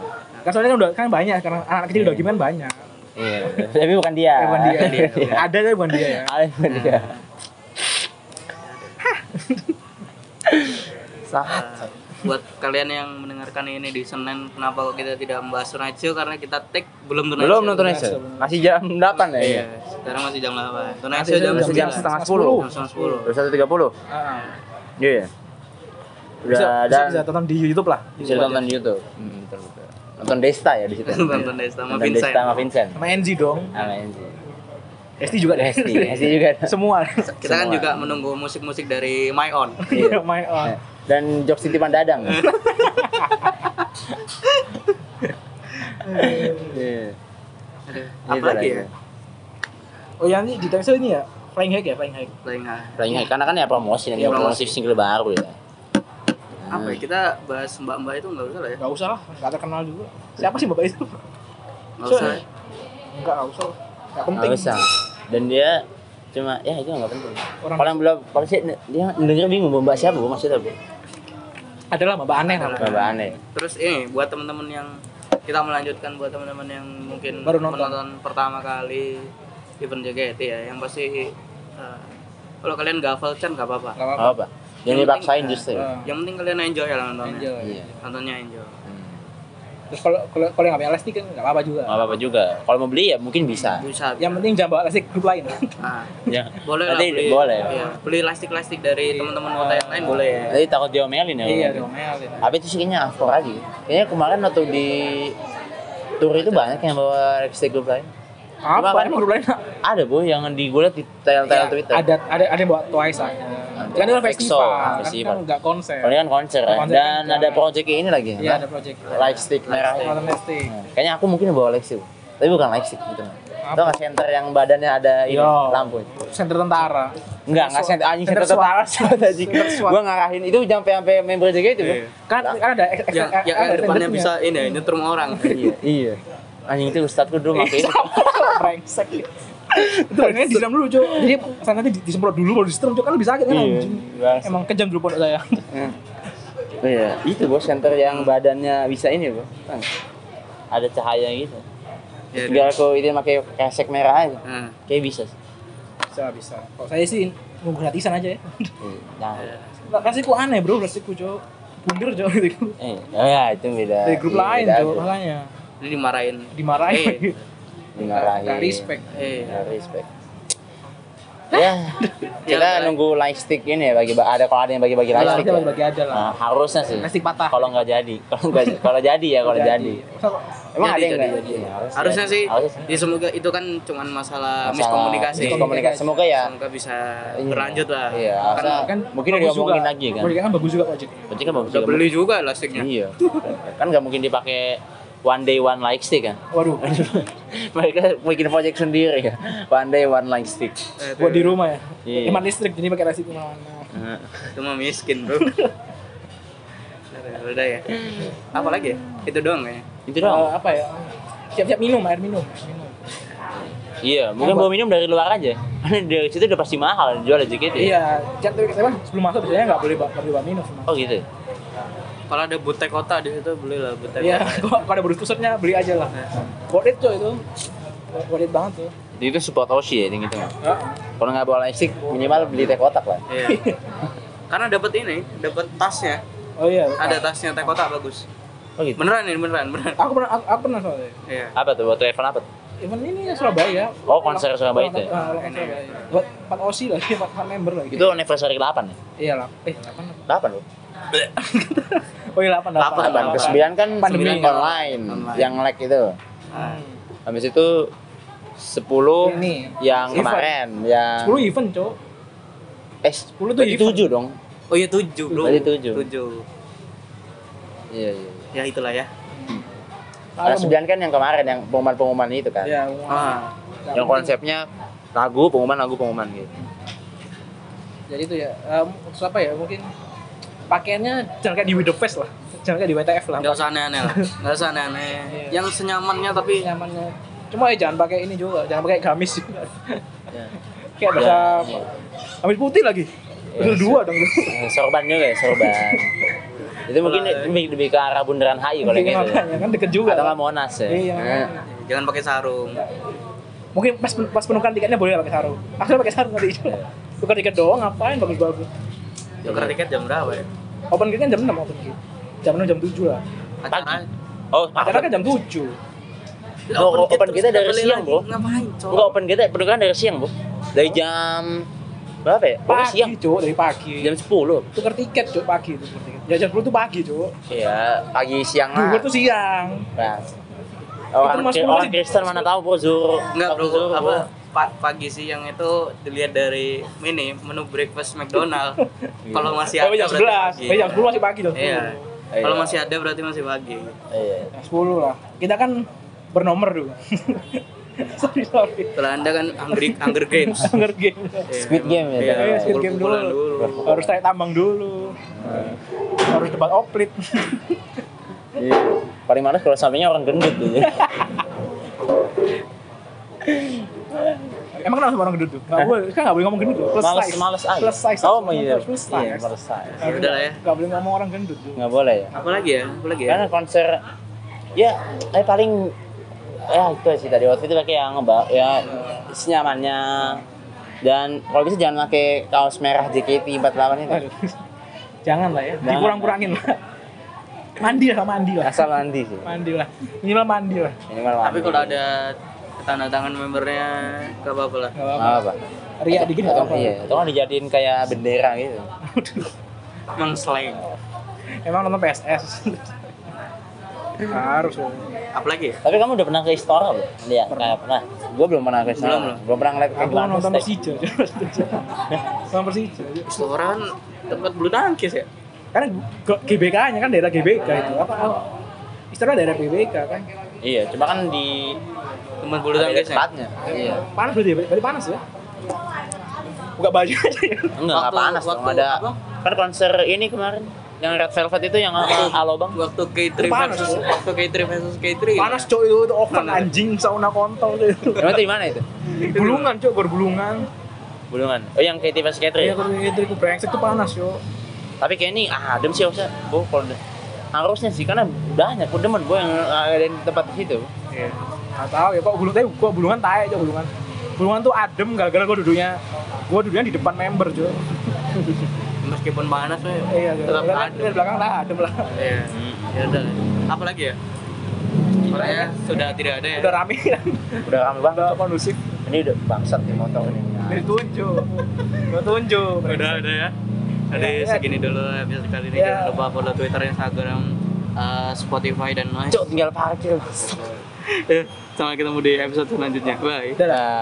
Speaker 3: Kan soalnya kan udah kan banyak karena anak kecil udah gimmick kan banyak.
Speaker 1: Iya. Tapi bukan dia.
Speaker 3: Eh, bukan dia.
Speaker 2: dia, bukan dia.
Speaker 3: Ada tapi bukan dia ya.
Speaker 1: Ah, bukan dia. Sahat.
Speaker 2: Nah, buat kalian yang mendengarkan ini di Senin kenapa kok kita tidak membahas Tunajo karena kita take belum Tunajo
Speaker 1: Belum nonton Asia. Masih jam 8 ya? Iya.
Speaker 2: iya sekarang masih jam 8
Speaker 3: Nanti
Speaker 2: Tunajo jam
Speaker 1: jam
Speaker 2: jam
Speaker 1: setengah
Speaker 2: 10
Speaker 1: sepuluh.
Speaker 2: jam setengah 10
Speaker 1: Udah 1.30.
Speaker 3: Ah.
Speaker 1: Iya. iya. Udah
Speaker 3: Bisa, bisa,
Speaker 1: dan
Speaker 3: bisa tonton di YouTube lah.
Speaker 1: bisa nonton di YouTube. Hmm, nonton YouTube. Nonton Desta ya di situ.
Speaker 2: Nonton Desta sama
Speaker 1: Nonton
Speaker 2: Vincent.
Speaker 1: Desta sama Vincent.
Speaker 3: Sama NZ dong.
Speaker 1: Sama Enzi.
Speaker 3: Esti juga deh.
Speaker 1: Hesti, Hesti juga.
Speaker 3: Semua.
Speaker 2: kita kan
Speaker 1: Semua.
Speaker 2: juga menunggu musik-musik dari My On
Speaker 1: Iya.
Speaker 3: My on.
Speaker 1: Dan Jok Siti Pandadang. Iya.
Speaker 2: Aduh,
Speaker 1: Gitu
Speaker 2: apa lagi
Speaker 1: lah
Speaker 2: ya
Speaker 1: itu.
Speaker 3: Oh yang ini di Texel ini ya, Flying Hack ya, Flying Hack.
Speaker 2: Flying High
Speaker 1: Flying High, karena kan ya promosi nih,
Speaker 2: Iya,
Speaker 1: promosi
Speaker 2: promosi.
Speaker 1: single baru ya. Nah,
Speaker 2: apa ya kita bahas mbak-mbak itu nggak usah lah ya
Speaker 3: Gak usah lah, gak terkenal juga. Siapa sih bapak itu?
Speaker 2: nggak usah
Speaker 3: Sorry. Enggak, gak usah. Gak penting.
Speaker 1: Nggak usah. Dan dia cuma ya itu nggak penting.
Speaker 3: Orang-
Speaker 1: Kalau yang belum, kalau sih dia denger bingung "Bu, mbak siapa, Bu? maksudnya bu,
Speaker 3: Adalah bapak aneh lah.
Speaker 1: mbak mbak aneh.
Speaker 2: terus ini buat teman-teman yang kita melanjutkan buat teman-teman yang mungkin
Speaker 3: Baru nonton.
Speaker 2: menonton pertama kali event JKT ya yang pasti eh, kalau kalian gak hafal Chan gak apa-apa
Speaker 3: Gak apa-apa.
Speaker 1: Apa? apa? Yang
Speaker 2: Yang
Speaker 1: dipaksain
Speaker 2: penting,
Speaker 1: justru.
Speaker 3: eh,
Speaker 2: yang penting kalian enjoy ya nontonnya
Speaker 3: Enjoy.
Speaker 1: Iya.
Speaker 2: nontonnya enjoy
Speaker 3: Terus kalau kalau kalau yang gak punya elastik kan gak apa-apa juga.
Speaker 1: Hmm. Nggak apa-apa juga. Kalau mau beli ya mungkin bisa.
Speaker 2: bisa
Speaker 3: Yang penting jangan bawa elastik grup lain.
Speaker 2: nah,
Speaker 1: Ya.
Speaker 2: boleh
Speaker 1: Nanti
Speaker 2: lah beli
Speaker 1: boleh. Iya.
Speaker 2: Iya, beli lastik-lastik dari teman-teman kota yang lain boleh ya
Speaker 1: Jadi takut diomelin ya.
Speaker 3: Iya,
Speaker 1: Bu.
Speaker 3: domel. ini.
Speaker 1: Tapi itu sih kayaknya Avor lagi. Kayaknya kemarin waktu di tour itu banyak yang bawa lipstick grup lain.
Speaker 3: Apa?
Speaker 1: Cuma kan-
Speaker 3: Emang grup lain
Speaker 1: Ada bu, yang di gue liat di
Speaker 3: Ya,
Speaker 1: tayang-tayang Twitter.
Speaker 3: Ada ada ada yang bawa Twice lah. Kan itu kan
Speaker 1: EXO,
Speaker 3: festival, kan-
Speaker 1: festival.
Speaker 3: kan nggak konser.
Speaker 1: Kalau ini kan konser, ya.
Speaker 3: Konser
Speaker 1: dan
Speaker 3: kan
Speaker 1: ada
Speaker 3: jarang.
Speaker 1: project ini lagi.
Speaker 3: Iya
Speaker 1: apa?
Speaker 3: ada project.
Speaker 1: Lightstick merah.
Speaker 2: Lightstick.
Speaker 3: Malam elastik.
Speaker 1: Nah, Kayaknya aku mungkin bawa Lexi, Bu. tapi bukan Lexi gitu.
Speaker 3: Apa?
Speaker 1: Tahu nggak center yang badannya ada ini
Speaker 3: Yo.
Speaker 1: lampu itu?
Speaker 3: Center tentara.
Speaker 1: Enggak, nggak
Speaker 3: SWAT.
Speaker 1: center anjing
Speaker 3: Center
Speaker 1: center tentara SWAT anjing.
Speaker 3: Center SWAT.
Speaker 1: Gua ngarahin itu sampai sampai member JG itu. Bu.
Speaker 2: Iya.
Speaker 3: Kan kan ada ex- ex-
Speaker 2: yang,
Speaker 3: ada
Speaker 2: yang yang Ya, depannya
Speaker 3: standarnya.
Speaker 2: bisa ini ya nyetrum orang
Speaker 1: Iya, iya. Anjing itu ustadku dulu pakai ini.
Speaker 3: Brengsek. Itu pengennya disiram dulu, Cuk. Jadi pesan nanti di- disemprot dulu baru disiram, Cuk. Kan lebih sakit kan
Speaker 1: Iya,
Speaker 3: anjing.
Speaker 1: bangsat.
Speaker 3: Emang kejam dulu pondok saya.
Speaker 1: Iya, itu bos center yang badannya bisa ini, Bu. Kan. Ada cahaya gitu.
Speaker 2: ya,
Speaker 1: Tinggal aku itu pakai kesek merah aja.
Speaker 2: nah,
Speaker 1: Kayak bisa. sih.
Speaker 3: Bisa, bisa. Kalau saya sih nunggu gratisan aja ya.
Speaker 1: Iya, Nah,
Speaker 3: Plastiku aneh, Bro, plastiku, Cuk. Bundir, Cuk, gitu.
Speaker 1: eh, oh ya itu beda.
Speaker 3: Dari grup
Speaker 1: Iya,
Speaker 3: lain,
Speaker 1: beda,
Speaker 3: Cuk,
Speaker 1: Bu.
Speaker 3: makanya.
Speaker 2: ini dimarahin
Speaker 3: Dimarahin.
Speaker 2: Eh,
Speaker 1: Dimarahin.
Speaker 3: Nggak respect.
Speaker 2: eh
Speaker 1: Ya, respect. ya, kita
Speaker 2: Ya,
Speaker 1: nunggu light stick ini ya bagi ada kalau ada yang bagi-bagi light
Speaker 3: Lah,
Speaker 1: stick.
Speaker 3: kita
Speaker 1: ya.
Speaker 3: bagi-bagi ada lah.
Speaker 1: Nah, harusnya sih.
Speaker 3: Plastik patah.
Speaker 1: Kalau nggak jadi, kalau nggak kalau jadi ya kalau jadi.
Speaker 3: Masa kok-
Speaker 1: Emang
Speaker 2: Jadi,
Speaker 1: ada yang
Speaker 2: jadi,
Speaker 1: nggak?
Speaker 2: jadi.
Speaker 1: Iya, harusnya
Speaker 2: harusnya
Speaker 1: jadi.
Speaker 2: sih
Speaker 1: Harusnya
Speaker 2: ya semoga itu kan cuman masalah,
Speaker 1: Masalah
Speaker 2: miskomunikasi
Speaker 1: miskomunikasi. Semoga ya.
Speaker 2: semoga bisa
Speaker 1: Iya.
Speaker 2: berlanjut lah
Speaker 1: Iya,
Speaker 2: kan
Speaker 1: harusnya- Mungkin udah
Speaker 3: bagus
Speaker 1: diomongin
Speaker 3: juga.
Speaker 1: lagi, kan?
Speaker 3: Proyeknya bagus juga project.
Speaker 1: Berarti kan bagus
Speaker 2: udah
Speaker 1: juga.
Speaker 2: beli juga lastiknya
Speaker 1: Iya. kan nggak mungkin dipakai one day one light stick kan.
Speaker 3: Waduh,
Speaker 1: Mereka bikin project sendiri ya. One day one light stick.
Speaker 2: Eh, itu
Speaker 3: buat di rumah ya.
Speaker 1: Iya.
Speaker 3: Hemat listrik jadi pakai nasi kemana-mana.
Speaker 2: itu mah miskin bro udah
Speaker 1: Iya.
Speaker 2: ya apa lagi ya? itu doang ya
Speaker 1: Itu doang.
Speaker 3: Eh, apa ya? Siap-siap minum air minum. minum.
Speaker 1: Iya, mungkin bawa minum dari luar aja. Karena dari situ udah pasti mahal jual aja gitu. ya.
Speaker 3: Iya, chat tuh saya sebelum masuk biasanya nggak boleh ba- nggak boleh bawa minum semua.
Speaker 1: Oh gitu.
Speaker 2: kalau ada butek kota di situ beli lah butek
Speaker 3: Iya,
Speaker 2: kota
Speaker 3: kok kalau ada berustusnya beli aja lah. Worth it tuh itu. Worth it banget tuh.
Speaker 1: Jadi itu support Oshi ya yang gitu.
Speaker 3: Ya.
Speaker 1: Kalau nggak bawa lightstick minimal beli teh kotak lah.
Speaker 2: Iya. karena dapat ini dapat tasnya
Speaker 3: Oh iya.
Speaker 2: ada tasnya teh kota bagus
Speaker 1: Oh gitu.
Speaker 2: beneran ini beneran beneran
Speaker 3: Aku pernah aku, aku pernah soalnya.
Speaker 2: iya
Speaker 1: Apa tuh waktu event apa? tuh?
Speaker 3: Event ini ya Surabaya.
Speaker 1: Oh, konser Surabaya itu ya?
Speaker 3: Ah, konser Surabaya. Buat empat OSI lagi, empat empat member gitu. lagi.
Speaker 1: Itu anniversary ke-8 ya?
Speaker 3: Iya lah. Eh, apa?
Speaker 1: 8 loh.
Speaker 3: Oh iya 8
Speaker 2: Lapan,
Speaker 1: 8 ke 9 kan 9
Speaker 3: Pandemi.
Speaker 1: online,
Speaker 2: Online.
Speaker 1: yang lag itu.
Speaker 3: Ah.
Speaker 2: Nah,
Speaker 1: Habis itu 10
Speaker 3: Ini.
Speaker 1: yang
Speaker 3: Event.
Speaker 1: kemarin yang
Speaker 3: 10 event, Cok.
Speaker 1: eh 10
Speaker 3: 10 tuh
Speaker 1: tuh
Speaker 3: event.
Speaker 1: 7 dong.
Speaker 2: oh iya tujuh belum.
Speaker 1: Tadi tujuh.
Speaker 2: Tujuh.
Speaker 1: Iya iya. iya.
Speaker 2: Ya itulah ya.
Speaker 1: Nah, 9 kan yang kemarin yang pengumuman-pengumuman itu kan.
Speaker 3: Ya,
Speaker 2: Ah,
Speaker 1: Yang konsepnya lagu pengumuman lagu pengumuman gitu.
Speaker 3: Jadi itu ya, em, terus apa ya, mungkin pakaiannya jangan kayak di Widow Fest lah. Jangan kayak di WTF lah.
Speaker 2: nggak usah aneh-aneh lah. Nggak usah aneh-aneh.
Speaker 3: Iya.
Speaker 2: Yang senyamannya tapi
Speaker 3: Nyamannya. Cuma ya jangan pakai ini juga, jangan pakai gamis juga.
Speaker 1: Ya.
Speaker 3: Iya. kayak bahasa gamis putih lagi.
Speaker 1: Ya,
Speaker 3: Dua dong.
Speaker 1: Eh, sorban juga ya, sorban. itu mungkin
Speaker 2: Kalau-
Speaker 1: lebih, lebih ke arah bundaran HI kalau yang gitu.
Speaker 3: Iya,
Speaker 1: ya.
Speaker 3: makanya kan deket juga.
Speaker 1: Atau nggak Monas ya.
Speaker 3: Iya.
Speaker 1: Nah,
Speaker 2: jangan pakai sarung.
Speaker 1: Iya.
Speaker 3: Mungkin pas pas penukaran tiketnya boleh lah pakai sarung. Akhirnya pakai sarung nanti. Tukar tiket doang ngapain bagus-bagus.
Speaker 2: Tuker tiket jam berapa ya?
Speaker 3: Open gate kan jam 6 open gate. Jam 6 jam 7 lah.
Speaker 2: Acara
Speaker 1: Oh,
Speaker 2: Ah,
Speaker 3: Acara
Speaker 1: open,
Speaker 3: kan jam 7.
Speaker 1: Loh, open
Speaker 2: terus
Speaker 1: kita dari
Speaker 2: nggak boleh
Speaker 1: siang,
Speaker 2: lagi.
Speaker 1: Bro.
Speaker 2: Ngapain, Cok?
Speaker 1: enggak open kita penukaran dari siang, Bu. Dari jam berapa ya? Oh,
Speaker 3: Pagi,
Speaker 1: siang.
Speaker 3: Cuk, dari pagi.
Speaker 1: Jam 10.
Speaker 3: Tukar tiket, Cuk, pagi itu tukar tiket. Ya jam 10 tuh pagi, Cuk.
Speaker 1: Iya, pagi siang
Speaker 2: Ah.
Speaker 1: lah.
Speaker 3: Zuhur tuh siang.
Speaker 1: Nah. Orang,
Speaker 3: Itu masuk
Speaker 1: orang
Speaker 3: masih-
Speaker 1: Kristen mana tahu bro zuhur.
Speaker 2: Enggak
Speaker 1: Waktu
Speaker 2: bro,
Speaker 1: zuhur,
Speaker 2: apa pa- pagi siang itu dilihat dari ini menu breakfast McDonald. Kalau masih ada
Speaker 3: Sampai jam
Speaker 2: berarti
Speaker 3: 11.
Speaker 2: pagi.
Speaker 3: Sampai jam 10 masih pagi jam 10.
Speaker 2: Iya.
Speaker 1: Iya.
Speaker 2: Kalau masih ada berarti masih pagi.
Speaker 1: Iya.
Speaker 3: Jam 10 lah. Kita kan bernomor dulu. sorry, sorry.
Speaker 2: Kalau Anda kan Hungry Hunger Games.
Speaker 3: Hunger Games.
Speaker 1: Squid Game ya,
Speaker 2: Iya,
Speaker 3: Iya, Squid
Speaker 2: pukul-
Speaker 3: Game
Speaker 2: pukulan
Speaker 3: dulu.
Speaker 2: dulu.
Speaker 3: Harus tarik tambang dulu. Harus debat oplit.
Speaker 1: Iya. Paling males kalau sampingnya orang gendut gitu. tuh.
Speaker 3: Emang kenapa sama orang gendut tuh? Gak boleh, kan gak boleh ngomong gendut tuh. Plus
Speaker 1: males
Speaker 3: size.
Speaker 1: males aja.
Speaker 3: Plus size.
Speaker 1: Oh,
Speaker 3: Ngomong
Speaker 1: iya.
Speaker 3: Plus
Speaker 1: Iya,
Speaker 3: size.
Speaker 1: plus size.
Speaker 3: Gak
Speaker 2: Ya udah lah ya.
Speaker 3: boleh- Gak boleh ngomong orang gendut tuh.
Speaker 1: Enggak boleh ya.
Speaker 2: Apa lagi ya? Apa lagi ya?
Speaker 1: Karena konser ya eh paling ya itu sih tadi waktu itu pakai yang mbak ya senyamannya dan kalau bisa jangan pakai kaos merah JKT48 itu
Speaker 3: Aduh. Jangan lah ya,
Speaker 1: Jangan.
Speaker 3: dikurang-kurangin lah. Mandi lah, mandi lah.
Speaker 1: asal mandi sih
Speaker 3: Mandi lah. Minimal mandi lah.
Speaker 1: minimal mandi
Speaker 2: Tapi kalau ada tanda tangan membernya gak apa-apa lah.
Speaker 3: Gak
Speaker 1: Nggak
Speaker 3: apa-apa.
Speaker 1: apa-apa
Speaker 3: Riak dikit gak
Speaker 1: atau
Speaker 3: apa-apa.
Speaker 1: Ah, iya atau kan dijadiin kayak bendera gitu
Speaker 2: Emang slang.
Speaker 3: Emang nonton PSS. Harus. dong.
Speaker 2: Apalagi ya?
Speaker 1: tapi kamu udah pernah ke Istora belum? Iya, kayak pernah. Gue belum pernah ke Istora.
Speaker 2: Belum, belum.
Speaker 1: Belum pernah ngeliat kayak
Speaker 3: Aku
Speaker 1: gimana.
Speaker 3: nonton
Speaker 1: steak.
Speaker 3: Persija. Nonton Persija.
Speaker 2: Restoran kan tempat bulu tangkis ya?
Speaker 3: Karena GBK-nya kan daerah GBK itu. Apa? apa? Istilahnya daerah GBK kan.
Speaker 1: Iya, cuma kan di
Speaker 2: Tempat bulu ya?
Speaker 1: ada
Speaker 2: tangkisnya.
Speaker 1: tempatnya. Iya.
Speaker 3: Panas berarti ya? Berarti panas ya? Buka baju aja ya.
Speaker 1: Enggak, enggak
Speaker 2: Waktu-
Speaker 1: panas dong.
Speaker 2: waktu
Speaker 1: Ada
Speaker 2: apa?
Speaker 1: kan konser ini kemarin yang Red Velvet itu yang sama Alobang.
Speaker 2: Waktu K3
Speaker 3: Panas,
Speaker 2: versus
Speaker 3: Bro.
Speaker 2: waktu K3 versus K3.
Speaker 3: Panas cok itu, itu oven anjing sauna kontol itu.
Speaker 1: Emang itu di mana itu?
Speaker 3: Bulungan cok, berbulungan.
Speaker 1: Bulungan. Oh, yang KT pas Katri.
Speaker 3: Iya, kalau itu itu brengsek tuh panas yo.
Speaker 1: Tapi kayak ini ah, adem sih harusnya. Gue kalau udah- harusnya sih karena banyak gue demen gue yang ada di tempat di situ.
Speaker 3: Iya. Gak tahu ya kok bulungan, tapi gua bulungan tae aja bulungan. Bulungan tuh adem gara-gara gua duduknya. Gua duduknya di depan member, Jo.
Speaker 2: Meskipun panas ya.
Speaker 3: Iya,
Speaker 2: tetap
Speaker 3: gara-gara
Speaker 2: adem.
Speaker 3: di belakang lah adem lah.
Speaker 2: Iya. Ya udah. Apalagi ya? Soalnya sudah tidak ada ya.
Speaker 3: Udah rame kan.
Speaker 1: Udah rame banget.
Speaker 3: Udah kondusif.
Speaker 1: Ini udah bangsat nih motor ini.
Speaker 2: Iya.
Speaker 3: Ditunjuk. Gua tunjuk.
Speaker 2: Udah ada ya. Jadi
Speaker 3: Iya, iya.
Speaker 2: segini dulu episode kali ini
Speaker 3: Iya.
Speaker 2: jangan lupa follow Twitter, Instagram, eh, Spotify dan lain.
Speaker 1: Cuk, tinggal parkir.
Speaker 2: Eh, Sampai ketemu di episode selanjutnya. Bye.
Speaker 3: Udah lah.
Speaker 1: Nah,